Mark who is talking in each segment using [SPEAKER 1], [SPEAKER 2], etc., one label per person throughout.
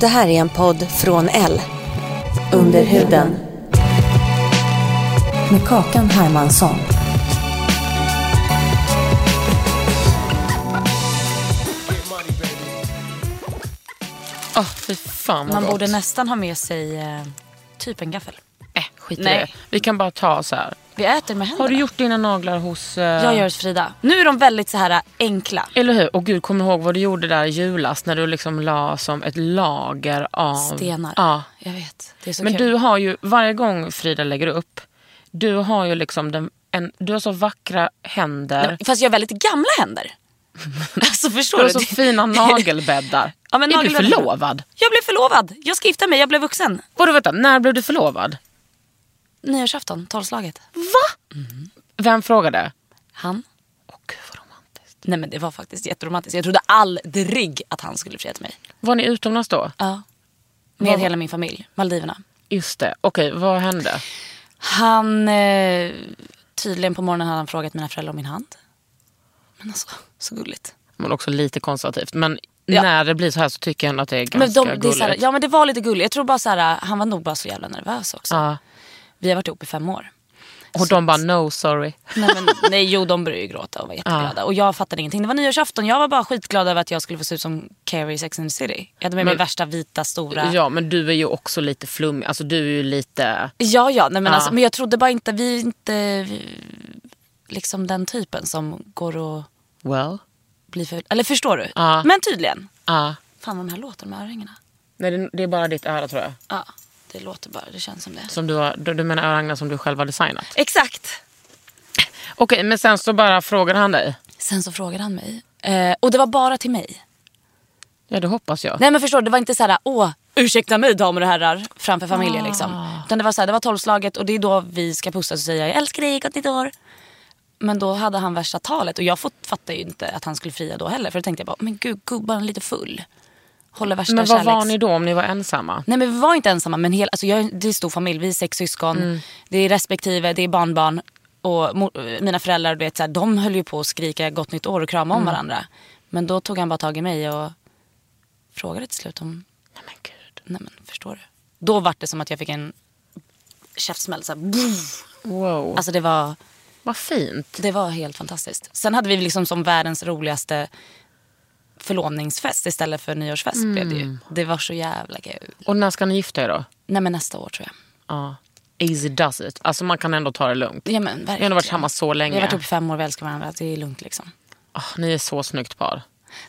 [SPEAKER 1] Det här är en podd från L. Under huden. Med Kakan Hermansson.
[SPEAKER 2] Åh, fy fan vad
[SPEAKER 3] Man
[SPEAKER 2] gott.
[SPEAKER 3] borde nästan ha med sig eh, typ en gaffel.
[SPEAKER 2] Äh, skit i
[SPEAKER 3] Nej.
[SPEAKER 2] det. Vi kan bara ta så här.
[SPEAKER 3] Vi äter med händerna.
[SPEAKER 2] Har du gjort dina naglar hos... eh,
[SPEAKER 3] Jag gör hos Frida. Nu är de väldigt så här äh, enkla.
[SPEAKER 2] Eller hur? Och gud, kom ihåg vad du gjorde där i julas när du liksom la som ett lager av...
[SPEAKER 3] Stenar.
[SPEAKER 2] Ja.
[SPEAKER 3] Jag vet. Det är så
[SPEAKER 2] Men
[SPEAKER 3] kul.
[SPEAKER 2] du har ju, varje gång Frida lägger upp, du har ju liksom den, en, du har så vackra händer.
[SPEAKER 3] Fast jag har väldigt gamla händer. alltså förstår
[SPEAKER 2] Du
[SPEAKER 3] du?
[SPEAKER 2] har så fina nagelbäddar.
[SPEAKER 3] Ja, men
[SPEAKER 2] är du
[SPEAKER 3] nagelbäddar-
[SPEAKER 2] förlovad?
[SPEAKER 3] Jag blev förlovad. Jag ska gifta mig. Jag blev vuxen.
[SPEAKER 2] Vadå vänta, när blev du förlovad?
[SPEAKER 3] Nyårsafton, tolvslaget.
[SPEAKER 2] Vem frågade?
[SPEAKER 3] Han?
[SPEAKER 2] Åh gud vad romantiskt.
[SPEAKER 3] Nej men det var faktiskt jätteromantiskt. Jag trodde aldrig att han skulle fria till mig.
[SPEAKER 2] Var ni utomlands då?
[SPEAKER 3] Ja. Med hela min familj. Maldiverna.
[SPEAKER 2] Just det, okej vad hände?
[SPEAKER 3] Han... Eh, tydligen på morgonen hade han frågat mina föräldrar om min hand. Men alltså, så gulligt.
[SPEAKER 2] Men också lite konservativt. Men
[SPEAKER 3] Ja.
[SPEAKER 2] när det blir så här så tycker jag ändå att det är ganska
[SPEAKER 3] Men de, det är
[SPEAKER 2] gulligt.
[SPEAKER 3] så här, ja men det var lite gulligt. Jag tror bara så här, han var nog bara så jävla nervös också.
[SPEAKER 2] Ja.
[SPEAKER 3] Vi har varit ihop i fem år.
[SPEAKER 2] Och de bara no sorry.
[SPEAKER 3] Nej, men, nej jo de började ju gråta och var jätteglada. Och jag fattade ingenting. Det var nyårsafton. Jag var bara skitglad över att jag skulle få se ut som Carrie i Sex and the City. Jag hade med
[SPEAKER 2] Men-
[SPEAKER 3] mig värsta vita stora.
[SPEAKER 2] Ja men du är ju också lite flummig, alltså du är ju lite...
[SPEAKER 3] ja, ja, nej, men,
[SPEAKER 2] Ja.
[SPEAKER 3] Alltså, men jag trodde bara inte, vi är inte vi, liksom den typen som går och
[SPEAKER 2] Well?
[SPEAKER 3] blir för... Eller förstår du?
[SPEAKER 2] Ja.
[SPEAKER 3] Men tydligen.
[SPEAKER 2] Ja.
[SPEAKER 3] Fan vad de här låter, de här örhängena.
[SPEAKER 2] Nej det, det är bara ditt öra tror jag.
[SPEAKER 3] Ja, det låter bara, det känns som det.
[SPEAKER 2] Som du, har, du, du menar örhängena som du själv har designat?
[SPEAKER 3] Exakt.
[SPEAKER 2] Okej men sen så bara frågade han dig?
[SPEAKER 3] Sen så frågade han mig. Eh, och det var bara till mig.
[SPEAKER 2] Ja det hoppas jag.
[SPEAKER 3] Nej men förstår du, det var inte så här, åh, ursäkta mig damer och herrar framför familjen
[SPEAKER 2] Ah.
[SPEAKER 3] liksom. Utan det var så här, det var tolvslaget och det är då vi ska pussas och säga jag älskar dig, gott nytt år. Men då hade han värsta talet och jag fått- fattade ju inte att han skulle fria då heller. För då tänkte jag bara, men gud gubben är lite full. Håller värsta
[SPEAKER 2] men vad var
[SPEAKER 3] kärleks-
[SPEAKER 2] ni då om ni var ensamma?
[SPEAKER 3] Nej men vi var inte ensamma men hel, alltså jag, det är stor familj, vi är sex syskon.
[SPEAKER 2] Mm.
[SPEAKER 3] Det är respektive, det är barnbarn. Och mor, mina föräldrar du vet, så här, de höll ju på att skrika gott nytt år och krama
[SPEAKER 2] Mm.
[SPEAKER 3] om varandra. Men då tog han bara tag i mig och frågade till slut om,
[SPEAKER 2] Nej men gud.
[SPEAKER 3] nej men förstår du? Då var det som att jag fick en käftsmäll. Så här, boom.
[SPEAKER 2] Wow.
[SPEAKER 3] alltså det var,
[SPEAKER 2] vad fint.
[SPEAKER 3] det var helt fantastiskt. Sen hade vi liksom som världens roligaste förlovningsfest istället för nyårsfest blev det
[SPEAKER 2] Mm.
[SPEAKER 3] ju. Det var så jävla kul.
[SPEAKER 2] Och när ska ni gifta er då?
[SPEAKER 3] Nej men nästa år tror jag.
[SPEAKER 2] Ja. Easy does it. Alltså man kan ändå ta det lugnt.
[SPEAKER 3] Ja, men,
[SPEAKER 2] Ni har ändå varit tillsammans så länge.
[SPEAKER 3] Vi har varit ihop i fem år, vi älskar varandra. Det är lugnt liksom.
[SPEAKER 2] Ah, ni är så snyggt par.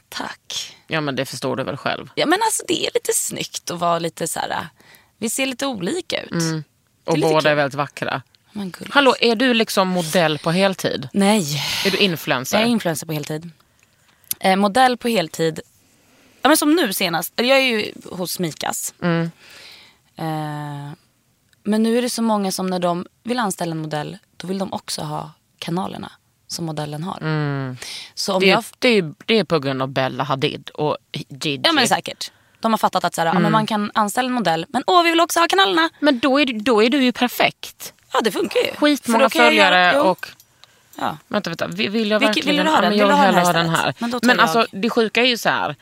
[SPEAKER 3] Tack.
[SPEAKER 2] Ja men det förstår du väl själv.
[SPEAKER 3] Ja men alltså det är lite snyggt att vara lite så här. äh, Vi ser lite olika ut.
[SPEAKER 2] Och
[SPEAKER 3] lite
[SPEAKER 2] båda
[SPEAKER 3] kul.
[SPEAKER 2] är väldigt vackra.
[SPEAKER 3] Men gulligt.
[SPEAKER 2] Mm. Hallå, är du liksom modell på heltid?
[SPEAKER 3] Nej,
[SPEAKER 2] Är du influencer?
[SPEAKER 3] jag är influencer på heltid. Eh, modell på heltid. Ja men som nu senast. Eller Jag är ju hos Mikas.
[SPEAKER 2] Mm.
[SPEAKER 3] Eh, men nu är det så många som när de vill anställa en modell, då vill de också ha kanalerna som modellen har. Så om
[SPEAKER 2] Mm. det,
[SPEAKER 3] jag
[SPEAKER 2] är, det, är, det är på grund av Bella Hadid och Gigi.
[SPEAKER 3] Ja men säkert. De har fattat att så här, ja,
[SPEAKER 2] Mm.
[SPEAKER 3] men man kan anställa en modell men åh vi vill också ha kanalerna.
[SPEAKER 2] Men då är, du- då är du ju perfekt.
[SPEAKER 3] Ja det funkar ju. För
[SPEAKER 2] Skitmånga
[SPEAKER 3] då kan jag
[SPEAKER 2] följare
[SPEAKER 3] göra- jo.
[SPEAKER 2] och...
[SPEAKER 3] Ja.
[SPEAKER 2] Vänta, vänta. vi- Vill jag
[SPEAKER 3] Vilken-
[SPEAKER 2] verkligen...
[SPEAKER 3] vill du ha den?
[SPEAKER 2] Ja, men jag vill
[SPEAKER 3] Vill du ha den
[SPEAKER 2] hellre ha
[SPEAKER 3] här
[SPEAKER 2] den
[SPEAKER 3] istället?
[SPEAKER 2] här.
[SPEAKER 3] Men då tar
[SPEAKER 2] men
[SPEAKER 3] jag-
[SPEAKER 2] alltså det sjuka är ju så här.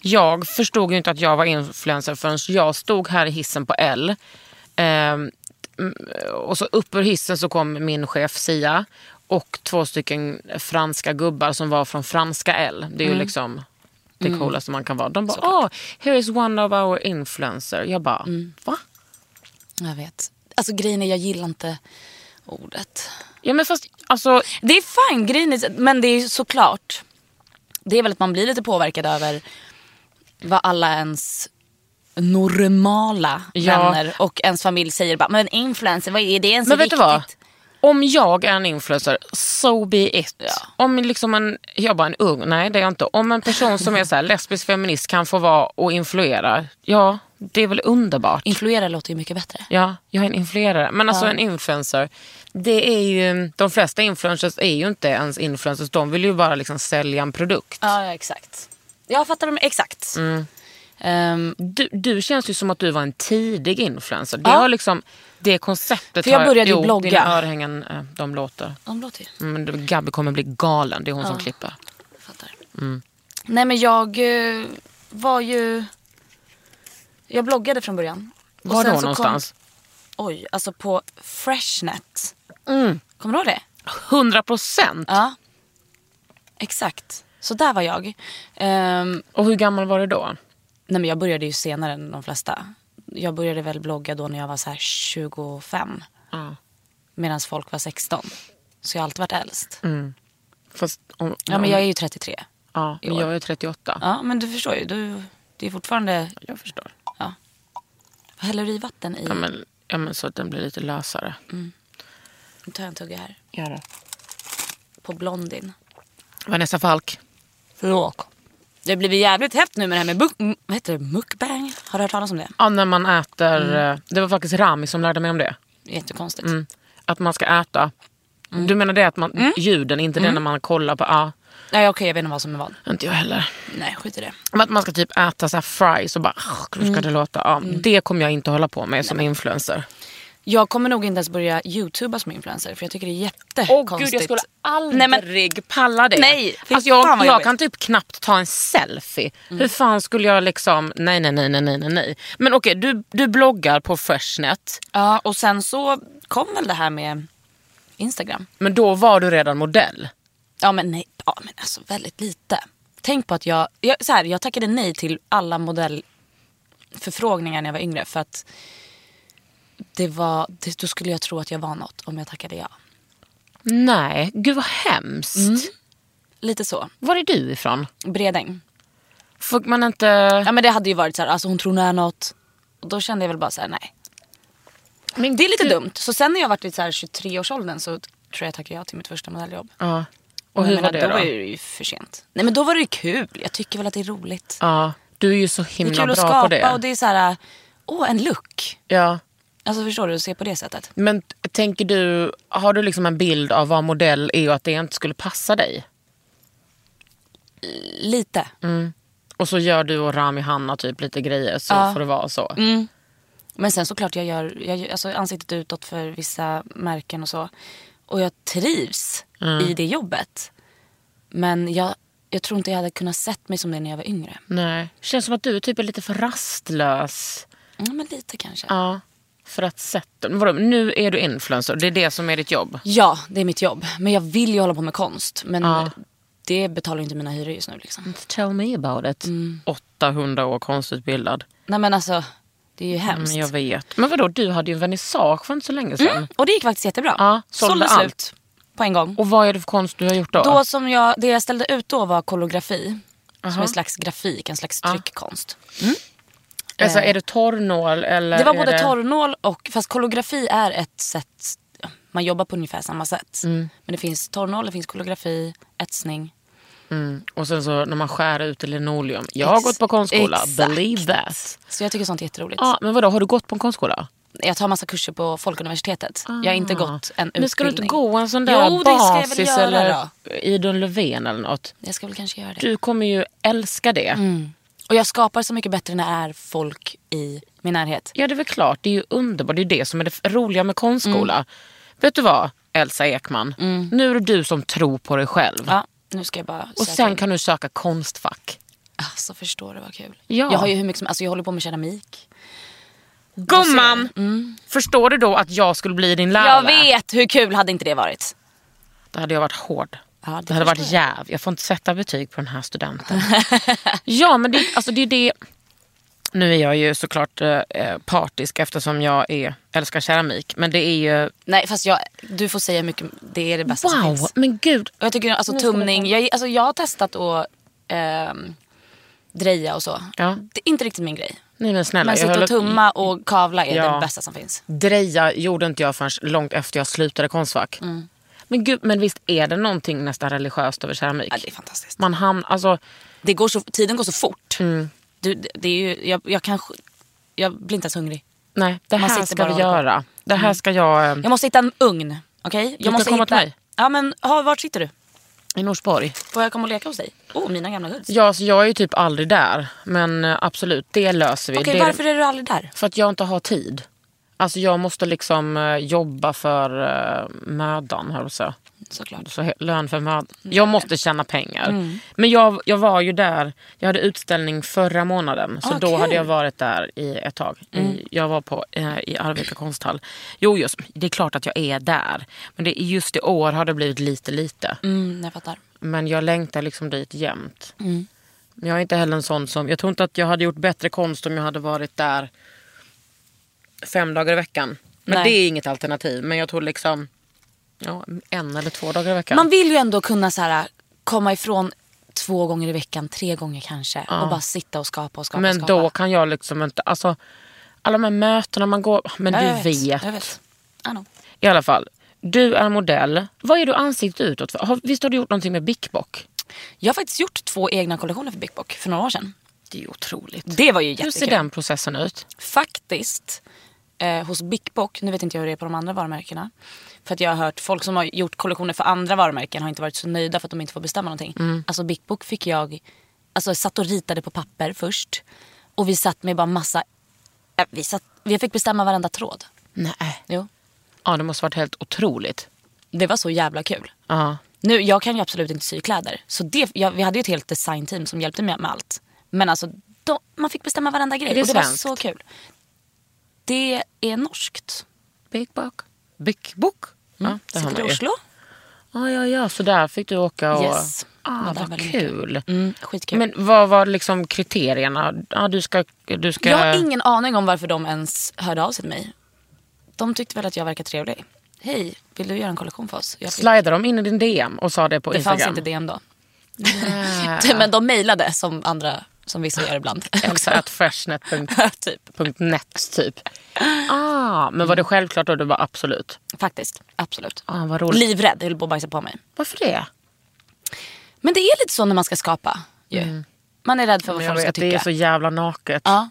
[SPEAKER 2] Jag förstod ju inte att jag var influencer förrän jag stod här i hissen på L. Ehm, mm, och så upp ur hissen så kom min chef Sia
[SPEAKER 3] Mm.
[SPEAKER 2] och två stycken franska gubbar som var från franska L. Det är ju liksom det coolaste man kan vara. De bara, åh, here is one of our influencer. Jag bara,
[SPEAKER 3] Mm.
[SPEAKER 2] va?
[SPEAKER 3] Jag vet. Alltså grejen är, jag gillar inte ordet.
[SPEAKER 2] Ja men fast, alltså,
[SPEAKER 3] Det är fine, grejen är, men det är ju såklart. Det är väl att man blir lite påverkad över vad alla ens normala
[SPEAKER 2] Ja.
[SPEAKER 3] vänner och ens familj säger. Bara, men influencer, vad är det ens
[SPEAKER 2] men vet
[SPEAKER 3] viktigt?
[SPEAKER 2] du vad? Om jag är en influencer, so be it. Om liksom en, jag bara en ung, nej det är jag inte. Om en person som är så här, lesbisk feminist kan få vara och influera, ja det är väl underbart.
[SPEAKER 3] Influera låter ju mycket bättre.
[SPEAKER 2] Ja, jag är en influerare. Men alltså en influencer, det är ju, de flesta influencers är ju inte ens influencers. De vill ju bara liksom sälja en produkt.
[SPEAKER 3] Ja, ja exakt. Jag fattar dem exakt.
[SPEAKER 2] Mm.
[SPEAKER 3] Ehm,
[SPEAKER 2] Du, du känns ju som att du var en tidig influencer. Det,
[SPEAKER 3] Ja.
[SPEAKER 2] har liksom, det konceptet
[SPEAKER 3] För jag
[SPEAKER 2] har-
[SPEAKER 3] började ju
[SPEAKER 2] jo,
[SPEAKER 3] blogga.
[SPEAKER 2] Dina örhängen, eh, de låter.
[SPEAKER 3] de låter ju...
[SPEAKER 2] Mm, Men du- Gabby kommer bli galen, det är hon som klipper.
[SPEAKER 3] fattar. Nej men jag eh, var ju... Jag bloggade från början. Och
[SPEAKER 2] Var
[SPEAKER 3] sen
[SPEAKER 2] då
[SPEAKER 3] så
[SPEAKER 2] någonstans?
[SPEAKER 3] Kom, oj, alltså på Freshnet.
[SPEAKER 2] Mm.
[SPEAKER 3] Kommer du ihåg det?
[SPEAKER 2] 100 procent!
[SPEAKER 3] Ja. Exakt. Så där var jag. Ehm,
[SPEAKER 2] Och hur gammal var du då?
[SPEAKER 3] nej men jag började ju senare än de flesta. Jag började väl blogga då när jag var så här 25.
[SPEAKER 2] Ja.
[SPEAKER 3] Medan folk var 16. Så jag har alltid varit äldst.
[SPEAKER 2] Mm. Fast, om,
[SPEAKER 3] Ja men jag är ju 33.
[SPEAKER 2] ja, men
[SPEAKER 3] i år.
[SPEAKER 2] jag är 38.
[SPEAKER 3] Ja men du förstår ju. Du, det är fortfarande...
[SPEAKER 2] Jag förstår.
[SPEAKER 3] Häller du i vatten i...
[SPEAKER 2] Ja, men, ja, men så att den blir lite lösare.
[SPEAKER 3] Nu tar jag en tugga här.
[SPEAKER 2] Mm, Gör det.
[SPEAKER 3] På Blondin.
[SPEAKER 2] Vanessa Falk.
[SPEAKER 3] Förlåt. Det blir jävligt häftigt nu med det här med book, m- vad heter det? mukbang. Har du hört talas om det?
[SPEAKER 2] Ja, när man äter... eh, Det var faktiskt Rami som lärde mig om det.
[SPEAKER 3] Jättekonstigt.
[SPEAKER 2] Mm. Att man ska äta... Du menar det att man, ljuden, inte det när man kollar på... Ja,
[SPEAKER 3] Nej okej jag vet inte vad som är vad.
[SPEAKER 2] inte jag heller.
[SPEAKER 3] Nej skit i det.
[SPEAKER 2] Men att man ska typ äta så här fries och bara... Hur ska det låta? Ja, Det kommer jag inte hålla på med som influencer.
[SPEAKER 3] Jag kommer nog inte ens börja youtuba som influencer för jag tycker det är
[SPEAKER 2] Åh
[SPEAKER 3] jättekonstigt.
[SPEAKER 2] gud, jag skulle aldrig
[SPEAKER 3] Nej, men-
[SPEAKER 2] palla det.
[SPEAKER 3] Nej, fy
[SPEAKER 2] alltså, jag
[SPEAKER 3] fan vad
[SPEAKER 2] jag
[SPEAKER 3] jobbigt.
[SPEAKER 2] kan typ knappt ta en selfie. Hur fan skulle jag liksom... Nej, nej, nej, nej, nej, nej, nej. Men okej, du, du bloggar på Freshnet.
[SPEAKER 3] Ja och sen så kom väl det här med Instagram.
[SPEAKER 2] Men då var du redan modell.
[SPEAKER 3] Ja men nej, ja men alltså väldigt lite. Tänk på att jag, jag, så här, jag tackade nej till alla modellförfrågningar när jag var yngre för att det var, det, då skulle jag tro att jag var något om jag tackade ja.
[SPEAKER 2] Nej, gud vad hemskt.
[SPEAKER 3] Lite så.
[SPEAKER 2] Var är du ifrån?
[SPEAKER 3] Bredäng.
[SPEAKER 2] Fick man inte...
[SPEAKER 3] Ja men det hade ju varit så här, alltså hon tror hon är något. Och då kände jag väl bara så här, nej.
[SPEAKER 2] Men
[SPEAKER 3] Det är lite dumt. Så sen när jag varit i så här 23-årsåldern så tror jag tackade jag till mitt första modelljobb.
[SPEAKER 2] Ja. Och hur
[SPEAKER 3] jag
[SPEAKER 2] var
[SPEAKER 3] menar,
[SPEAKER 2] det
[SPEAKER 3] då?
[SPEAKER 2] då?
[SPEAKER 3] var ju det ju för sent. Nej men då var det ju kul. Jag tycker väl att det är roligt.
[SPEAKER 2] Ja, du är ju så
[SPEAKER 3] det är
[SPEAKER 2] himla
[SPEAKER 3] kul att
[SPEAKER 2] bra på
[SPEAKER 3] skapa
[SPEAKER 2] det.
[SPEAKER 3] och det är så här, åh en look.
[SPEAKER 2] Ja.
[SPEAKER 3] Alltså förstår du, se på det sättet.
[SPEAKER 2] Men t- tänker du, har du liksom en bild av vad modell är och att det inte skulle passa dig?
[SPEAKER 3] Lite.
[SPEAKER 2] Och så gör du och Rami Hanna typ lite grejer så
[SPEAKER 3] Ja. Mm.
[SPEAKER 2] får det vara så.
[SPEAKER 3] Men sen såklart jag gör, jag gör alltså ansiktet utåt för vissa märken och så. Och jag trivs
[SPEAKER 2] Mm.
[SPEAKER 3] i det jobbet. Men jag, jag tror inte jag hade kunnat sett mig som det när jag var yngre.
[SPEAKER 2] Nej. Känns som att du typ är lite för rastlös.
[SPEAKER 3] Ja, men lite kanske. Ja.
[SPEAKER 2] Ja. För att sätta... Vadå, nu är du influencer, det är det som är ditt jobb.
[SPEAKER 3] det är mitt jobb. Men jag vill ju hålla på med konst. Men
[SPEAKER 2] Ja.
[SPEAKER 3] det betalar ju inte mina hyror just nu. Liksom.
[SPEAKER 2] Tell me about it. 800 Mm. år konstutbildad.
[SPEAKER 3] Nej men alltså, det är ju
[SPEAKER 2] Mm,
[SPEAKER 3] hemskt. Mm,
[SPEAKER 2] jag vet. Men vadå, du hade ju en vernissage för inte så länge sedan.
[SPEAKER 3] Och det gick faktiskt jättebra.
[SPEAKER 2] Ja, sålde
[SPEAKER 3] Sålde
[SPEAKER 2] allt.
[SPEAKER 3] slut på en gång.
[SPEAKER 2] Och vad är det för konst du har gjort då?
[SPEAKER 3] Då som jag, det jag ställde ut då var koreografi. Som är en slags grafik, en slags tryckkonst.
[SPEAKER 2] alltså, är det torrnål eller?
[SPEAKER 3] Det var
[SPEAKER 2] är
[SPEAKER 3] både torrnål och, fast koreografi är ett sätt, ja, man jobbar på ungefär samma sätt. Men det finns torrnål, det finns koreografi, etsning.
[SPEAKER 2] Mm. Och sen så när man skär ut i linoleum. Jag har
[SPEAKER 3] Ex-
[SPEAKER 2] gått på konstskola,
[SPEAKER 3] exakt.
[SPEAKER 2] believe that.
[SPEAKER 3] Så jag tycker sånt är jätteroligt.
[SPEAKER 2] Ja, men vadå, har du gått på en konstskola?
[SPEAKER 3] Jag tar massa kurser på Folkuniversitetet. Jag har inte
[SPEAKER 2] Ah.
[SPEAKER 3] gått en utbildning.
[SPEAKER 2] Men ska du inte gå en sån där
[SPEAKER 3] Jo, det ska jag
[SPEAKER 2] basis
[SPEAKER 3] väl göra
[SPEAKER 2] eller
[SPEAKER 3] då.
[SPEAKER 2] Idun Löfven eller något?
[SPEAKER 3] Jag ska väl kanske göra det.
[SPEAKER 2] Du kommer ju älska det.
[SPEAKER 3] Mm. Och jag skapar så mycket bättre när det är folk i min närhet.
[SPEAKER 2] Ja, det är väl klart. Det är ju underbart. Det är ju det som är det f- roliga med konstskola.
[SPEAKER 3] Mm.
[SPEAKER 2] Vet du vad, Elsa Ekman? Nu är det du som tror på dig själv.
[SPEAKER 3] Ja, nu ska jag bara
[SPEAKER 2] Och
[SPEAKER 3] söka
[SPEAKER 2] sen
[SPEAKER 3] in.
[SPEAKER 2] kan du söka konstfack.
[SPEAKER 3] Alltså förstår du vad kul.
[SPEAKER 2] Ja.
[SPEAKER 3] Jag har ju hur mycket som, alltså jag håller på med keramik.
[SPEAKER 2] Gumman! Mm. Förstår du då att jag skulle bli din lärare?
[SPEAKER 3] Jag vet, hur kul hade inte det varit?
[SPEAKER 2] Då hade jag varit hård.
[SPEAKER 3] Ja,
[SPEAKER 2] Det hade varit jäv. Jag får inte sätta betyg på den här studenten. ja, men det, alltså, det är det. Nu är jag ju såklart eh, partisk eftersom jag är, älskar keramik. Men det är ju...
[SPEAKER 3] Nej, fast jag, du får säga hur mycket. Det är Alltså, det bästa som
[SPEAKER 2] Wow,
[SPEAKER 3] finns.
[SPEAKER 2] men gud.
[SPEAKER 3] Och jag tycker alltså tumning. Jag, alltså, jag har testat att ehm, dreja och så.
[SPEAKER 2] Ja.
[SPEAKER 3] Det är inte riktigt min grej.
[SPEAKER 2] Nej, men snälla,
[SPEAKER 3] Men
[SPEAKER 2] jag höll
[SPEAKER 3] sitta och
[SPEAKER 2] upp-
[SPEAKER 3] tumma och kavla är
[SPEAKER 2] Ja.
[SPEAKER 3] det bästa som finns.
[SPEAKER 2] Dreja gjorde inte jag förrän långt efter jag slutade Konstfack.
[SPEAKER 3] Mm.
[SPEAKER 2] Men, gud, men visst är det någonting nästan religiöst över keramik?
[SPEAKER 3] Ja, det är fantastiskt.
[SPEAKER 2] Man hamnar... Alltså,
[SPEAKER 3] Det går så, tiden går så fort.
[SPEAKER 2] Mm.
[SPEAKER 3] Du, det det är ju, jag, jag, kan, jag blir inte ens hungrig.
[SPEAKER 2] nej, det
[SPEAKER 3] Man
[SPEAKER 2] här
[SPEAKER 3] sitter
[SPEAKER 2] ska
[SPEAKER 3] bara
[SPEAKER 2] vi
[SPEAKER 3] och håller på. Mm.
[SPEAKER 2] göra. Det här ska jag... eh,
[SPEAKER 3] Jag måste hitta en ugn. Okej?
[SPEAKER 2] du
[SPEAKER 3] Jag måste
[SPEAKER 2] komma till mig?
[SPEAKER 3] Ja, men ha, vart sitter du?
[SPEAKER 2] I Norsborg.
[SPEAKER 3] Får jag komma och leka hos dig? Oh, mina gamla hus.
[SPEAKER 2] Ja, så jag är ju typ aldrig där. Men eh, absolut, det löser vi.
[SPEAKER 3] Okej,
[SPEAKER 2] det är
[SPEAKER 3] varför är du aldrig där?
[SPEAKER 2] För att jag inte har tid. Alltså jag måste liksom eh, jobba för eh, mödan, höll jag på att säga.
[SPEAKER 3] Såklart.
[SPEAKER 2] så he- lön för mödan. Jag måste tjäna pengar. Men jag, jag var ju där, jag hade utställning förra månaden. Så
[SPEAKER 3] Ah,
[SPEAKER 2] då hade
[SPEAKER 3] kul.
[SPEAKER 2] jag varit där i ett tag. I, jag var på, eh, i Arvika konsthall. Jo, just, det är klart att jag är där. Men det, just i år har det blivit lite, lite.
[SPEAKER 3] Mm, jag fattar.
[SPEAKER 2] Men jag längtar liksom dit jämt. Men jag är inte heller en sån som... Jag tror inte att jag hade gjort bättre konst om jag hade varit där fem dagar i veckan. Men
[SPEAKER 3] Nej.
[SPEAKER 2] det är inget alternativ. Men jag tror liksom ja, en eller två dagar i veckan.
[SPEAKER 3] Man vill ju ändå kunna så här, komma ifrån två gånger i veckan, tre gånger kanske. Och bara sitta och skapa och skapa. och
[SPEAKER 2] men
[SPEAKER 3] skapa.
[SPEAKER 2] då kan jag liksom inte... Alltså, alla de här mötena man går... Men
[SPEAKER 3] Ja,
[SPEAKER 2] du
[SPEAKER 3] jag
[SPEAKER 2] vet,
[SPEAKER 3] Jag vet. I know.
[SPEAKER 2] I alla fall. Du är modell. Vad är du ansiktet utåt för? Har- Visst har du gjort någonting med Bic Boc?
[SPEAKER 3] Jag har faktiskt gjort två egna kollektioner för Big Bock för några år sedan.
[SPEAKER 2] Det är otroligt.
[SPEAKER 3] Det var ju
[SPEAKER 2] Hur ser
[SPEAKER 3] jättekul.
[SPEAKER 2] den processen ut?
[SPEAKER 3] Faktiskt, eh, hos Big Bock, nu vet inte jag hur det är på de andra varumärkena. För att jag har hört folk som har gjort kollektioner för andra varumärken har inte varit så nöjda för att de inte får bestämma någonting.
[SPEAKER 2] Mm.
[SPEAKER 3] Alltså Big Bock fick jag, alltså jag satt och ritade på papper först. Och vi satt med bara massa, eh, vi, satt, vi fick bestämma varenda tråd.
[SPEAKER 2] Nej.
[SPEAKER 3] Jo.
[SPEAKER 2] Ja, det måste varit helt otroligt.
[SPEAKER 3] Det var så jävla kul.
[SPEAKER 2] Ja.
[SPEAKER 3] Nu, jag kan ju absolut inte sy kläder. Så det, jag, vi hade ju ett helt designteam som hjälpte mig med allt. Men alltså, de, man fick bestämma varenda grej.
[SPEAKER 2] Är det
[SPEAKER 3] och det var
[SPEAKER 2] svenskt?
[SPEAKER 3] så kul. Det är norskt.
[SPEAKER 2] Big Book. Big Book? Ja, det har
[SPEAKER 3] Mm. Sitter i
[SPEAKER 2] man ju.
[SPEAKER 3] Oslo.
[SPEAKER 2] Ja, ja, ja. Så där fick du åka och...
[SPEAKER 3] Yes.
[SPEAKER 2] Ah,
[SPEAKER 3] Var där
[SPEAKER 2] vad
[SPEAKER 3] väldigt
[SPEAKER 2] kul.
[SPEAKER 3] Mm, skitkul.
[SPEAKER 2] Men vad var liksom kriterierna? Ja, du ska... Du ska...
[SPEAKER 3] Jag har ingen aning om varför de ens hörde av sig till mig. De tyckte väl att jag verkade trevlig. Hej, vill du göra en kollektion för oss? Jag fick,
[SPEAKER 2] Slidade de in i din DM och sa det på
[SPEAKER 3] det
[SPEAKER 2] Instagram?
[SPEAKER 3] fanns inte DM då.
[SPEAKER 2] Nej.
[SPEAKER 3] Men de mejlade som andra, som vissa gör ibland.
[SPEAKER 2] Också att freshnet.net
[SPEAKER 3] typ.
[SPEAKER 2] typ. Ah, men var det självklart då? Du bara absolut.
[SPEAKER 3] Faktiskt, absolut.
[SPEAKER 2] Ah, vad roligt.
[SPEAKER 3] Livrädd, jag höll på att bajsa på mig.
[SPEAKER 2] Varför det?
[SPEAKER 3] Men det är lite så när man ska skapa. Ju. Man är rädd för vad
[SPEAKER 2] Mm. Men jag
[SPEAKER 3] folk ska
[SPEAKER 2] vet, det
[SPEAKER 3] tycka.
[SPEAKER 2] är så jävla naket.
[SPEAKER 3] Ja.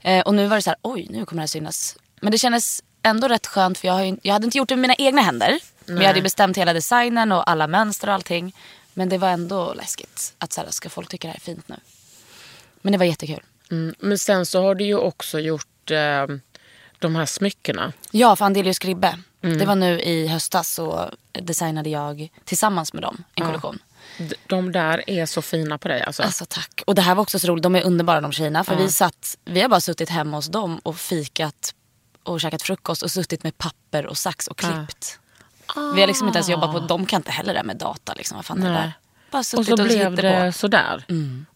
[SPEAKER 3] Eh, och nu var det så här, oj nu kommer det här synas. Men det kändes ändå rätt skönt för jag, har ju, jag hade inte gjort det med mina egna händer. Men jag hade ju bestämt hela designen och alla mönster och allting. Men det var ändå läskigt. Att så här, ska folk tycka det här är fint nu? Men det var jättekul.
[SPEAKER 2] Mm. Men sen så har du ju också gjort eh, de här smyckena.
[SPEAKER 3] Ja, för Andelius Gribbe. Det var nu i höstas så designade jag tillsammans med dem en kollektion.
[SPEAKER 2] D- De där är så fina på dig alltså.
[SPEAKER 3] Alltså tack. Och det här var också så roligt. De är underbara de tjejerna. För vi, satt, vi har bara suttit hemma hos dem och fikat och käkat frukost och suttit med papper och sax och klippt. Vi har liksom inte ens jobbat på, de kan inte heller det här med data. Liksom. Vad fan är det
[SPEAKER 2] Ah. Nej.
[SPEAKER 3] där? Bara
[SPEAKER 2] och
[SPEAKER 3] suttit
[SPEAKER 2] så
[SPEAKER 3] och,
[SPEAKER 2] blev
[SPEAKER 3] hittat
[SPEAKER 2] det
[SPEAKER 3] på. Mm.
[SPEAKER 2] sådär.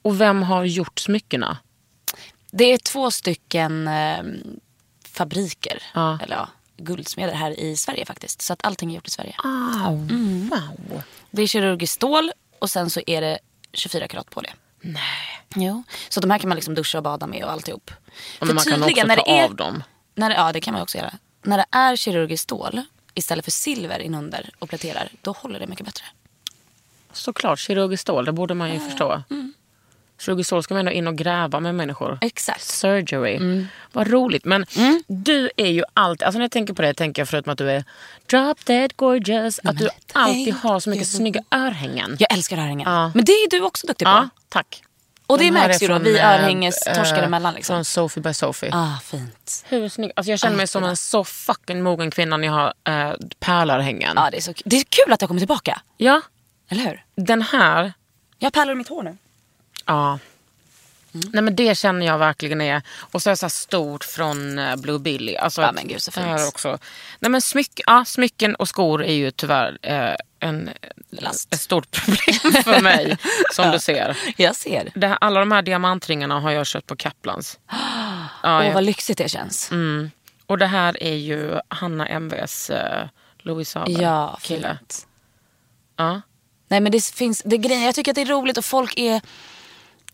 [SPEAKER 2] Och vem har gjort smyckena?
[SPEAKER 3] Det är två stycken eh, fabriker,
[SPEAKER 2] Ja.
[SPEAKER 3] eller ja, guldsmeder här i Sverige faktiskt. Så att allting är gjort i Sverige.
[SPEAKER 2] Au, Mm. Wow.
[SPEAKER 3] Det är kirurgiskt stål och sen så är det 24 karat på det. Nej. Jo. Så de här kan man liksom duscha och bada med och alltihop.
[SPEAKER 2] Men man kan också ta av dem.
[SPEAKER 3] När det, ja, det kan man också göra. När det är kirurgiskt stål istället för silver inunder och pläterar, då håller det mycket bättre.
[SPEAKER 2] Såklart, kirurgiskt stål, det borde
[SPEAKER 3] Ah,
[SPEAKER 2] man ju förstå.
[SPEAKER 3] Mm.
[SPEAKER 2] Kirurgiskt stål ska man ändå in och gräva med människor.
[SPEAKER 3] Exakt.
[SPEAKER 2] Surgery.
[SPEAKER 3] Mm.
[SPEAKER 2] Vad roligt. Men du är ju alltid, alltså när jag tänker på dig tänker jag förutom att du är drop dead gorgeous, att du alltid har så mycket snygga örhängen.
[SPEAKER 3] Jag älskar örhängen.
[SPEAKER 2] Ja.
[SPEAKER 3] Men det är ju du också duktig på.
[SPEAKER 2] Ja, tack.
[SPEAKER 3] Och det
[SPEAKER 2] De här
[SPEAKER 3] märks
[SPEAKER 2] är
[SPEAKER 3] ju då,
[SPEAKER 2] från,
[SPEAKER 3] vi
[SPEAKER 2] eh,
[SPEAKER 3] örhängestorskar
[SPEAKER 2] eh,
[SPEAKER 3] emellan liksom.
[SPEAKER 2] Från Sophie by Sophie.
[SPEAKER 3] Ah, fint.
[SPEAKER 2] Hur snygg? Alltså jag känner mig som en så fucking mogen kvinna när jag har eh, pärlörhängen.
[SPEAKER 3] Ja, det, är så, det är kul att jag kommer tillbaka.
[SPEAKER 2] Ja,
[SPEAKER 3] Eller hur?
[SPEAKER 2] den här.
[SPEAKER 3] Jag har pärlor i mitt hår nu.
[SPEAKER 2] Ja. Nej men det känner jag verkligen är. Och så är det så här stort från eh, Blue Billy. Alltså
[SPEAKER 3] Ja,
[SPEAKER 2] att-
[SPEAKER 3] men gud, så
[SPEAKER 2] det
[SPEAKER 3] fint.
[SPEAKER 2] Här också. Nej men smyck, ja, smycken och skor är ju tyvärr eh, en,
[SPEAKER 3] Last.
[SPEAKER 2] ett stort problem för mig som du ser.
[SPEAKER 3] Jag ser.
[SPEAKER 2] Det här, alla de här diamantringarna har jag köpt på Kaplans.
[SPEAKER 3] Åh
[SPEAKER 2] Ja, jag-
[SPEAKER 3] vad lyxigt det känns.
[SPEAKER 2] mm. Och det här är ju Hanna MVs eh, Louis Saber
[SPEAKER 3] Ja,
[SPEAKER 2] kille.
[SPEAKER 3] fint.
[SPEAKER 2] Ja.
[SPEAKER 3] Nej men det finns, det är grejen, jag tycker att det är roligt och folk är,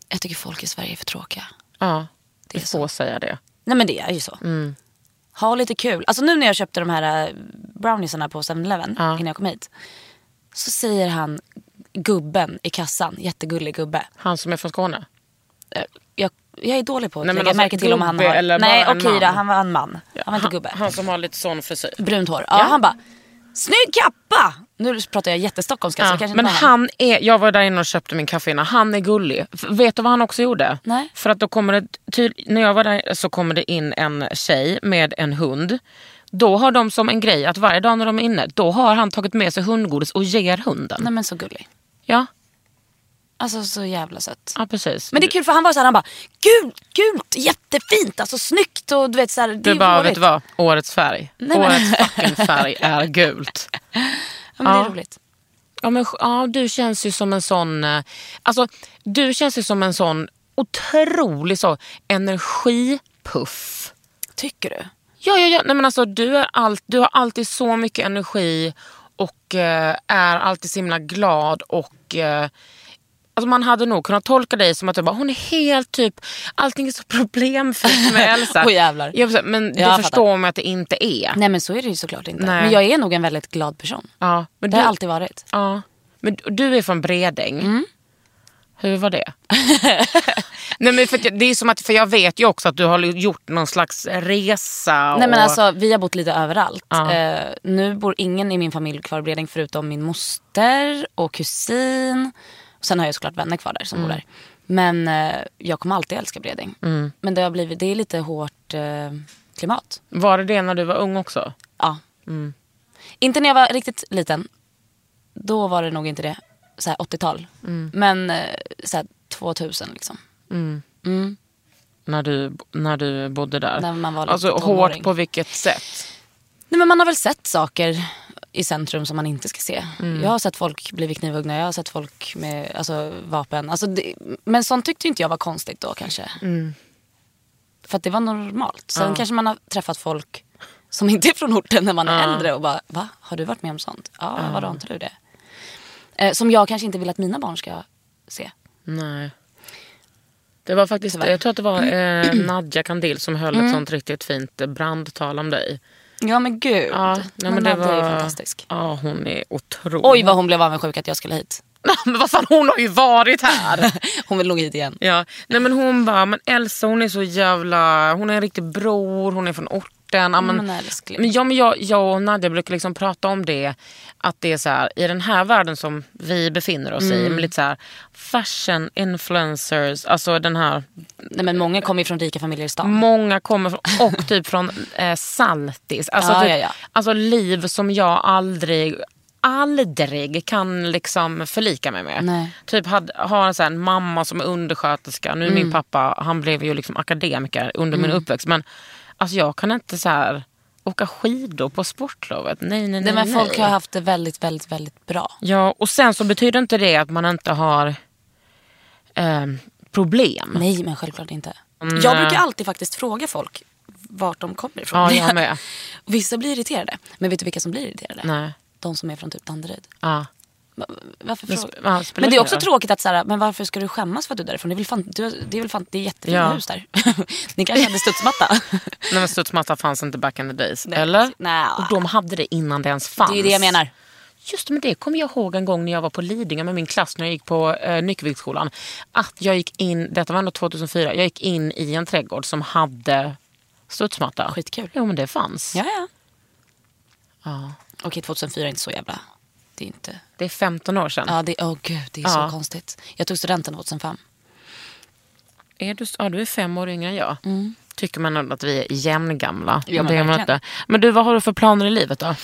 [SPEAKER 3] jag tycker folk i Sverige är för tråkiga.
[SPEAKER 2] ja,
[SPEAKER 3] Det
[SPEAKER 2] det
[SPEAKER 3] är
[SPEAKER 2] får
[SPEAKER 3] så.
[SPEAKER 2] säga det.
[SPEAKER 3] Nej men det är ju så.
[SPEAKER 2] Mm.
[SPEAKER 3] Ha lite kul. Alltså nu när jag köpte de här eh, browniesarna på 7-Eleven
[SPEAKER 2] Ja.
[SPEAKER 3] innan jag kom hit. Så säger han, gubben i kassan, jättegullig gubbe.
[SPEAKER 2] Han som är från Skåne.
[SPEAKER 3] Eh, Jag, jag är dålig på att
[SPEAKER 2] Nej, men
[SPEAKER 3] lägga
[SPEAKER 2] alltså,
[SPEAKER 3] märke till om han
[SPEAKER 2] gubbe
[SPEAKER 3] har...
[SPEAKER 2] eller
[SPEAKER 3] Nej
[SPEAKER 2] bara en
[SPEAKER 3] okej då,
[SPEAKER 2] man?
[SPEAKER 3] han var en man. Han var inte
[SPEAKER 2] han,
[SPEAKER 3] gubbe.
[SPEAKER 2] han som har lite sån frisyr.
[SPEAKER 3] Brunt hår. Ja,
[SPEAKER 2] Ja.
[SPEAKER 3] han bara, snygg kappa! Nu pratar jag jättestockholmska så
[SPEAKER 2] Ja,
[SPEAKER 3] Alltså, det kanske
[SPEAKER 2] men
[SPEAKER 3] inte var
[SPEAKER 2] han är, jag var där inne och köpte min kaffe innan. Han är gullig. F- Vet du vad han också gjorde?
[SPEAKER 3] Nej.
[SPEAKER 2] För att då kommer det, tyd- när jag var där så kommer det in en tjej med en hund. Då har de som en grej att varje dag när de är inne, då har han tagit med sig hundgodis och ger hunden.
[SPEAKER 3] Nej men så gullig.
[SPEAKER 2] Ja,
[SPEAKER 3] Alltså så jävla sött.
[SPEAKER 2] ja, precis.
[SPEAKER 3] Men det är kul för han var så här, han bara, gult, gult, jättefint, alltså snyggt och du vet så här, det är
[SPEAKER 2] du bara,
[SPEAKER 3] roligt.
[SPEAKER 2] vet du vad? Årets färg.
[SPEAKER 3] Nej, men-
[SPEAKER 2] Årets fucking färg är gult.
[SPEAKER 3] Ja, men det är
[SPEAKER 2] Ja.
[SPEAKER 3] roligt.
[SPEAKER 2] Ja, men, sk- ja, du känns ju som en sån... eh, Alltså, du känns ju som en sån otrolig så, energipuff.
[SPEAKER 3] Tycker du?
[SPEAKER 2] Ja, ja, ja. Nej, men alltså, du, är allt, du har alltid så mycket energi och eh, är alltid så himla glad. Och, eh, alltså, man hade nog kunnat tolka dig som att du bara, hon är helt typ, allting är så problemfritt med Elsa.
[SPEAKER 3] Åh, jävlar.
[SPEAKER 2] Ja, precis. men
[SPEAKER 3] Jag
[SPEAKER 2] det
[SPEAKER 3] fattar.
[SPEAKER 2] förstår man att det inte är.
[SPEAKER 3] Nej men så är det ju såklart inte.
[SPEAKER 2] Nej.
[SPEAKER 3] Men jag är nog en väldigt glad person.
[SPEAKER 2] Ja, men
[SPEAKER 3] Det
[SPEAKER 2] du,
[SPEAKER 3] har jag alltid varit.
[SPEAKER 2] ja. men du- du är från Bredäng.
[SPEAKER 3] Mm.
[SPEAKER 2] Hur var det? Nej, men för att jag- det är som att, för jag vet ju också att du har gjort någon slags resa.
[SPEAKER 3] Nej men
[SPEAKER 2] och-
[SPEAKER 3] alltså vi har bott lite överallt.
[SPEAKER 2] Ja.
[SPEAKER 3] Eh, nu bor ingen i min familj kvar i Bredäng förutom min moster och kusin. Och sen har jag såklart vänner kvar där som
[SPEAKER 2] Mm.
[SPEAKER 3] bor där. Men eh, jag kommer alltid älska Bredäng. Men det, har blivit, det är lite hårt eh, klimat.
[SPEAKER 2] Var det det när du var ung också?
[SPEAKER 3] Ja. Mm. Inte när jag var riktigt liten. Då var det nog inte det. Så här 80-tal. Men eh, så här 2000 liksom. Mm.
[SPEAKER 2] när du, när du bodde där?
[SPEAKER 3] När man var
[SPEAKER 2] alltså
[SPEAKER 3] lite tonåring.
[SPEAKER 2] hårt på vilket sätt?
[SPEAKER 3] Nej, men man har väl sett saker i centrum som man inte ska se. Jag har sett folk bli knivhuggna, jag har sett folk med alltså, vapen. Alltså, det, men sånt tyckte ju inte jag var konstigt då kanske. För att det var normalt. Sen kanske man har träffat folk som inte är från orten när man är äldre och bara va? Har du varit med om sånt? Ja, vadå har inte du det? Eh, som jag kanske inte vill att mina barn ska se.
[SPEAKER 2] Nej. Det var faktiskt,
[SPEAKER 3] Tyvärr. Mm.
[SPEAKER 2] jag tror att det var eh, Nadja Kandil som höll ett sånt riktigt fint eh, brandtal om dig.
[SPEAKER 3] Ja men gud.
[SPEAKER 2] Ja, nej, men det
[SPEAKER 3] Nadja är ju
[SPEAKER 2] var-
[SPEAKER 3] fantastisk.
[SPEAKER 2] Ja, hon är otrolig.
[SPEAKER 3] Oj vad hon blev avundsjuk att jag skulle hit.
[SPEAKER 2] men vad fan, hon har ju varit här!
[SPEAKER 3] Hon vill nog hit igen.
[SPEAKER 2] ja. Nej, men hon bara, men Elsa hon är så jävla, hon är en riktig bror, hon är från orten. Ja, men,
[SPEAKER 3] Men älskling.
[SPEAKER 2] Men ja, men jag, jag och Nadja brukar liksom prata om det. Att det är så här, i den här världen som vi befinner oss i. Med lite så här, fashion influencers. Alltså den här,
[SPEAKER 3] Nej, men många kommer ju från rika familjer i stan.
[SPEAKER 2] många kommer från, och typ från eh, Saltis. Alltså,
[SPEAKER 3] Ja,
[SPEAKER 2] typ,
[SPEAKER 3] ja, ja.
[SPEAKER 2] alltså liv som jag aldrig, aldrig kan liksom förlika mig med.
[SPEAKER 3] Nej.
[SPEAKER 2] Typ had, har en, så här, en mamma som är undersköterska. Nu är
[SPEAKER 3] Mm.
[SPEAKER 2] min pappa, han blev ju liksom akademiker under min uppväxt. Men alltså jag kan inte så här åka skidor på sportlovet. Nej, nej, nej.
[SPEAKER 3] Nej, men folk
[SPEAKER 2] nej.
[SPEAKER 3] har haft det väldigt, väldigt, väldigt bra.
[SPEAKER 2] Ja, och sen så betyder inte det att man inte har eh, problem.
[SPEAKER 3] Nej, men självklart inte.
[SPEAKER 2] Mm.
[SPEAKER 3] Jag brukar alltid faktiskt fråga folk vart de kommer ifrån.
[SPEAKER 2] Ja, jag med.
[SPEAKER 3] Vissa blir irriterade. Men vet du vilka som blir irriterade?
[SPEAKER 2] Nej.
[SPEAKER 3] De som är från typ Danderyd.
[SPEAKER 2] Ja.
[SPEAKER 3] Va- Varför
[SPEAKER 2] Men
[SPEAKER 3] fråga?
[SPEAKER 2] sp- ja, spelar
[SPEAKER 3] men det är
[SPEAKER 2] ingen
[SPEAKER 3] också
[SPEAKER 2] roll.
[SPEAKER 3] tråkigt att så här, men varför ska du skämmas för att du är därifrån? Det är väl fan, du, det är väl fan, det är jättefina
[SPEAKER 2] Ja.
[SPEAKER 3] hus där. Ni kanske hade studsmatta?
[SPEAKER 2] Nej men studsmatta fanns inte back in the days. eller?
[SPEAKER 3] Nej.
[SPEAKER 2] Och de hade det innan det ens fanns.
[SPEAKER 3] det är ju det jag menar.
[SPEAKER 2] Just det, men det kommer jag ihåg en gång när jag var på Lidingö med min klass när jag gick på eh, Nyckelviksskolan. Att jag gick in, detta var ändå 2004, jag gick in i en trädgård som hade studsmatta.
[SPEAKER 3] Skitkul.
[SPEAKER 2] Jo men det fanns.
[SPEAKER 3] Ja, ja.
[SPEAKER 2] Ja.
[SPEAKER 3] Okej, 2004 är inte så jävla... Det är inte...
[SPEAKER 2] Det är 15 år sedan.
[SPEAKER 3] Ja, det, åh gud, det är
[SPEAKER 2] Ja.
[SPEAKER 3] så konstigt. Jag tog studenten 2005.
[SPEAKER 2] Är du, ja, du är fem år yngre än jag. Tycker man ändå att vi är jämngamla.
[SPEAKER 3] Mm. Ja, men
[SPEAKER 2] det är man
[SPEAKER 3] verkligen.
[SPEAKER 2] inte. Men du, vad har du för planer i livet då?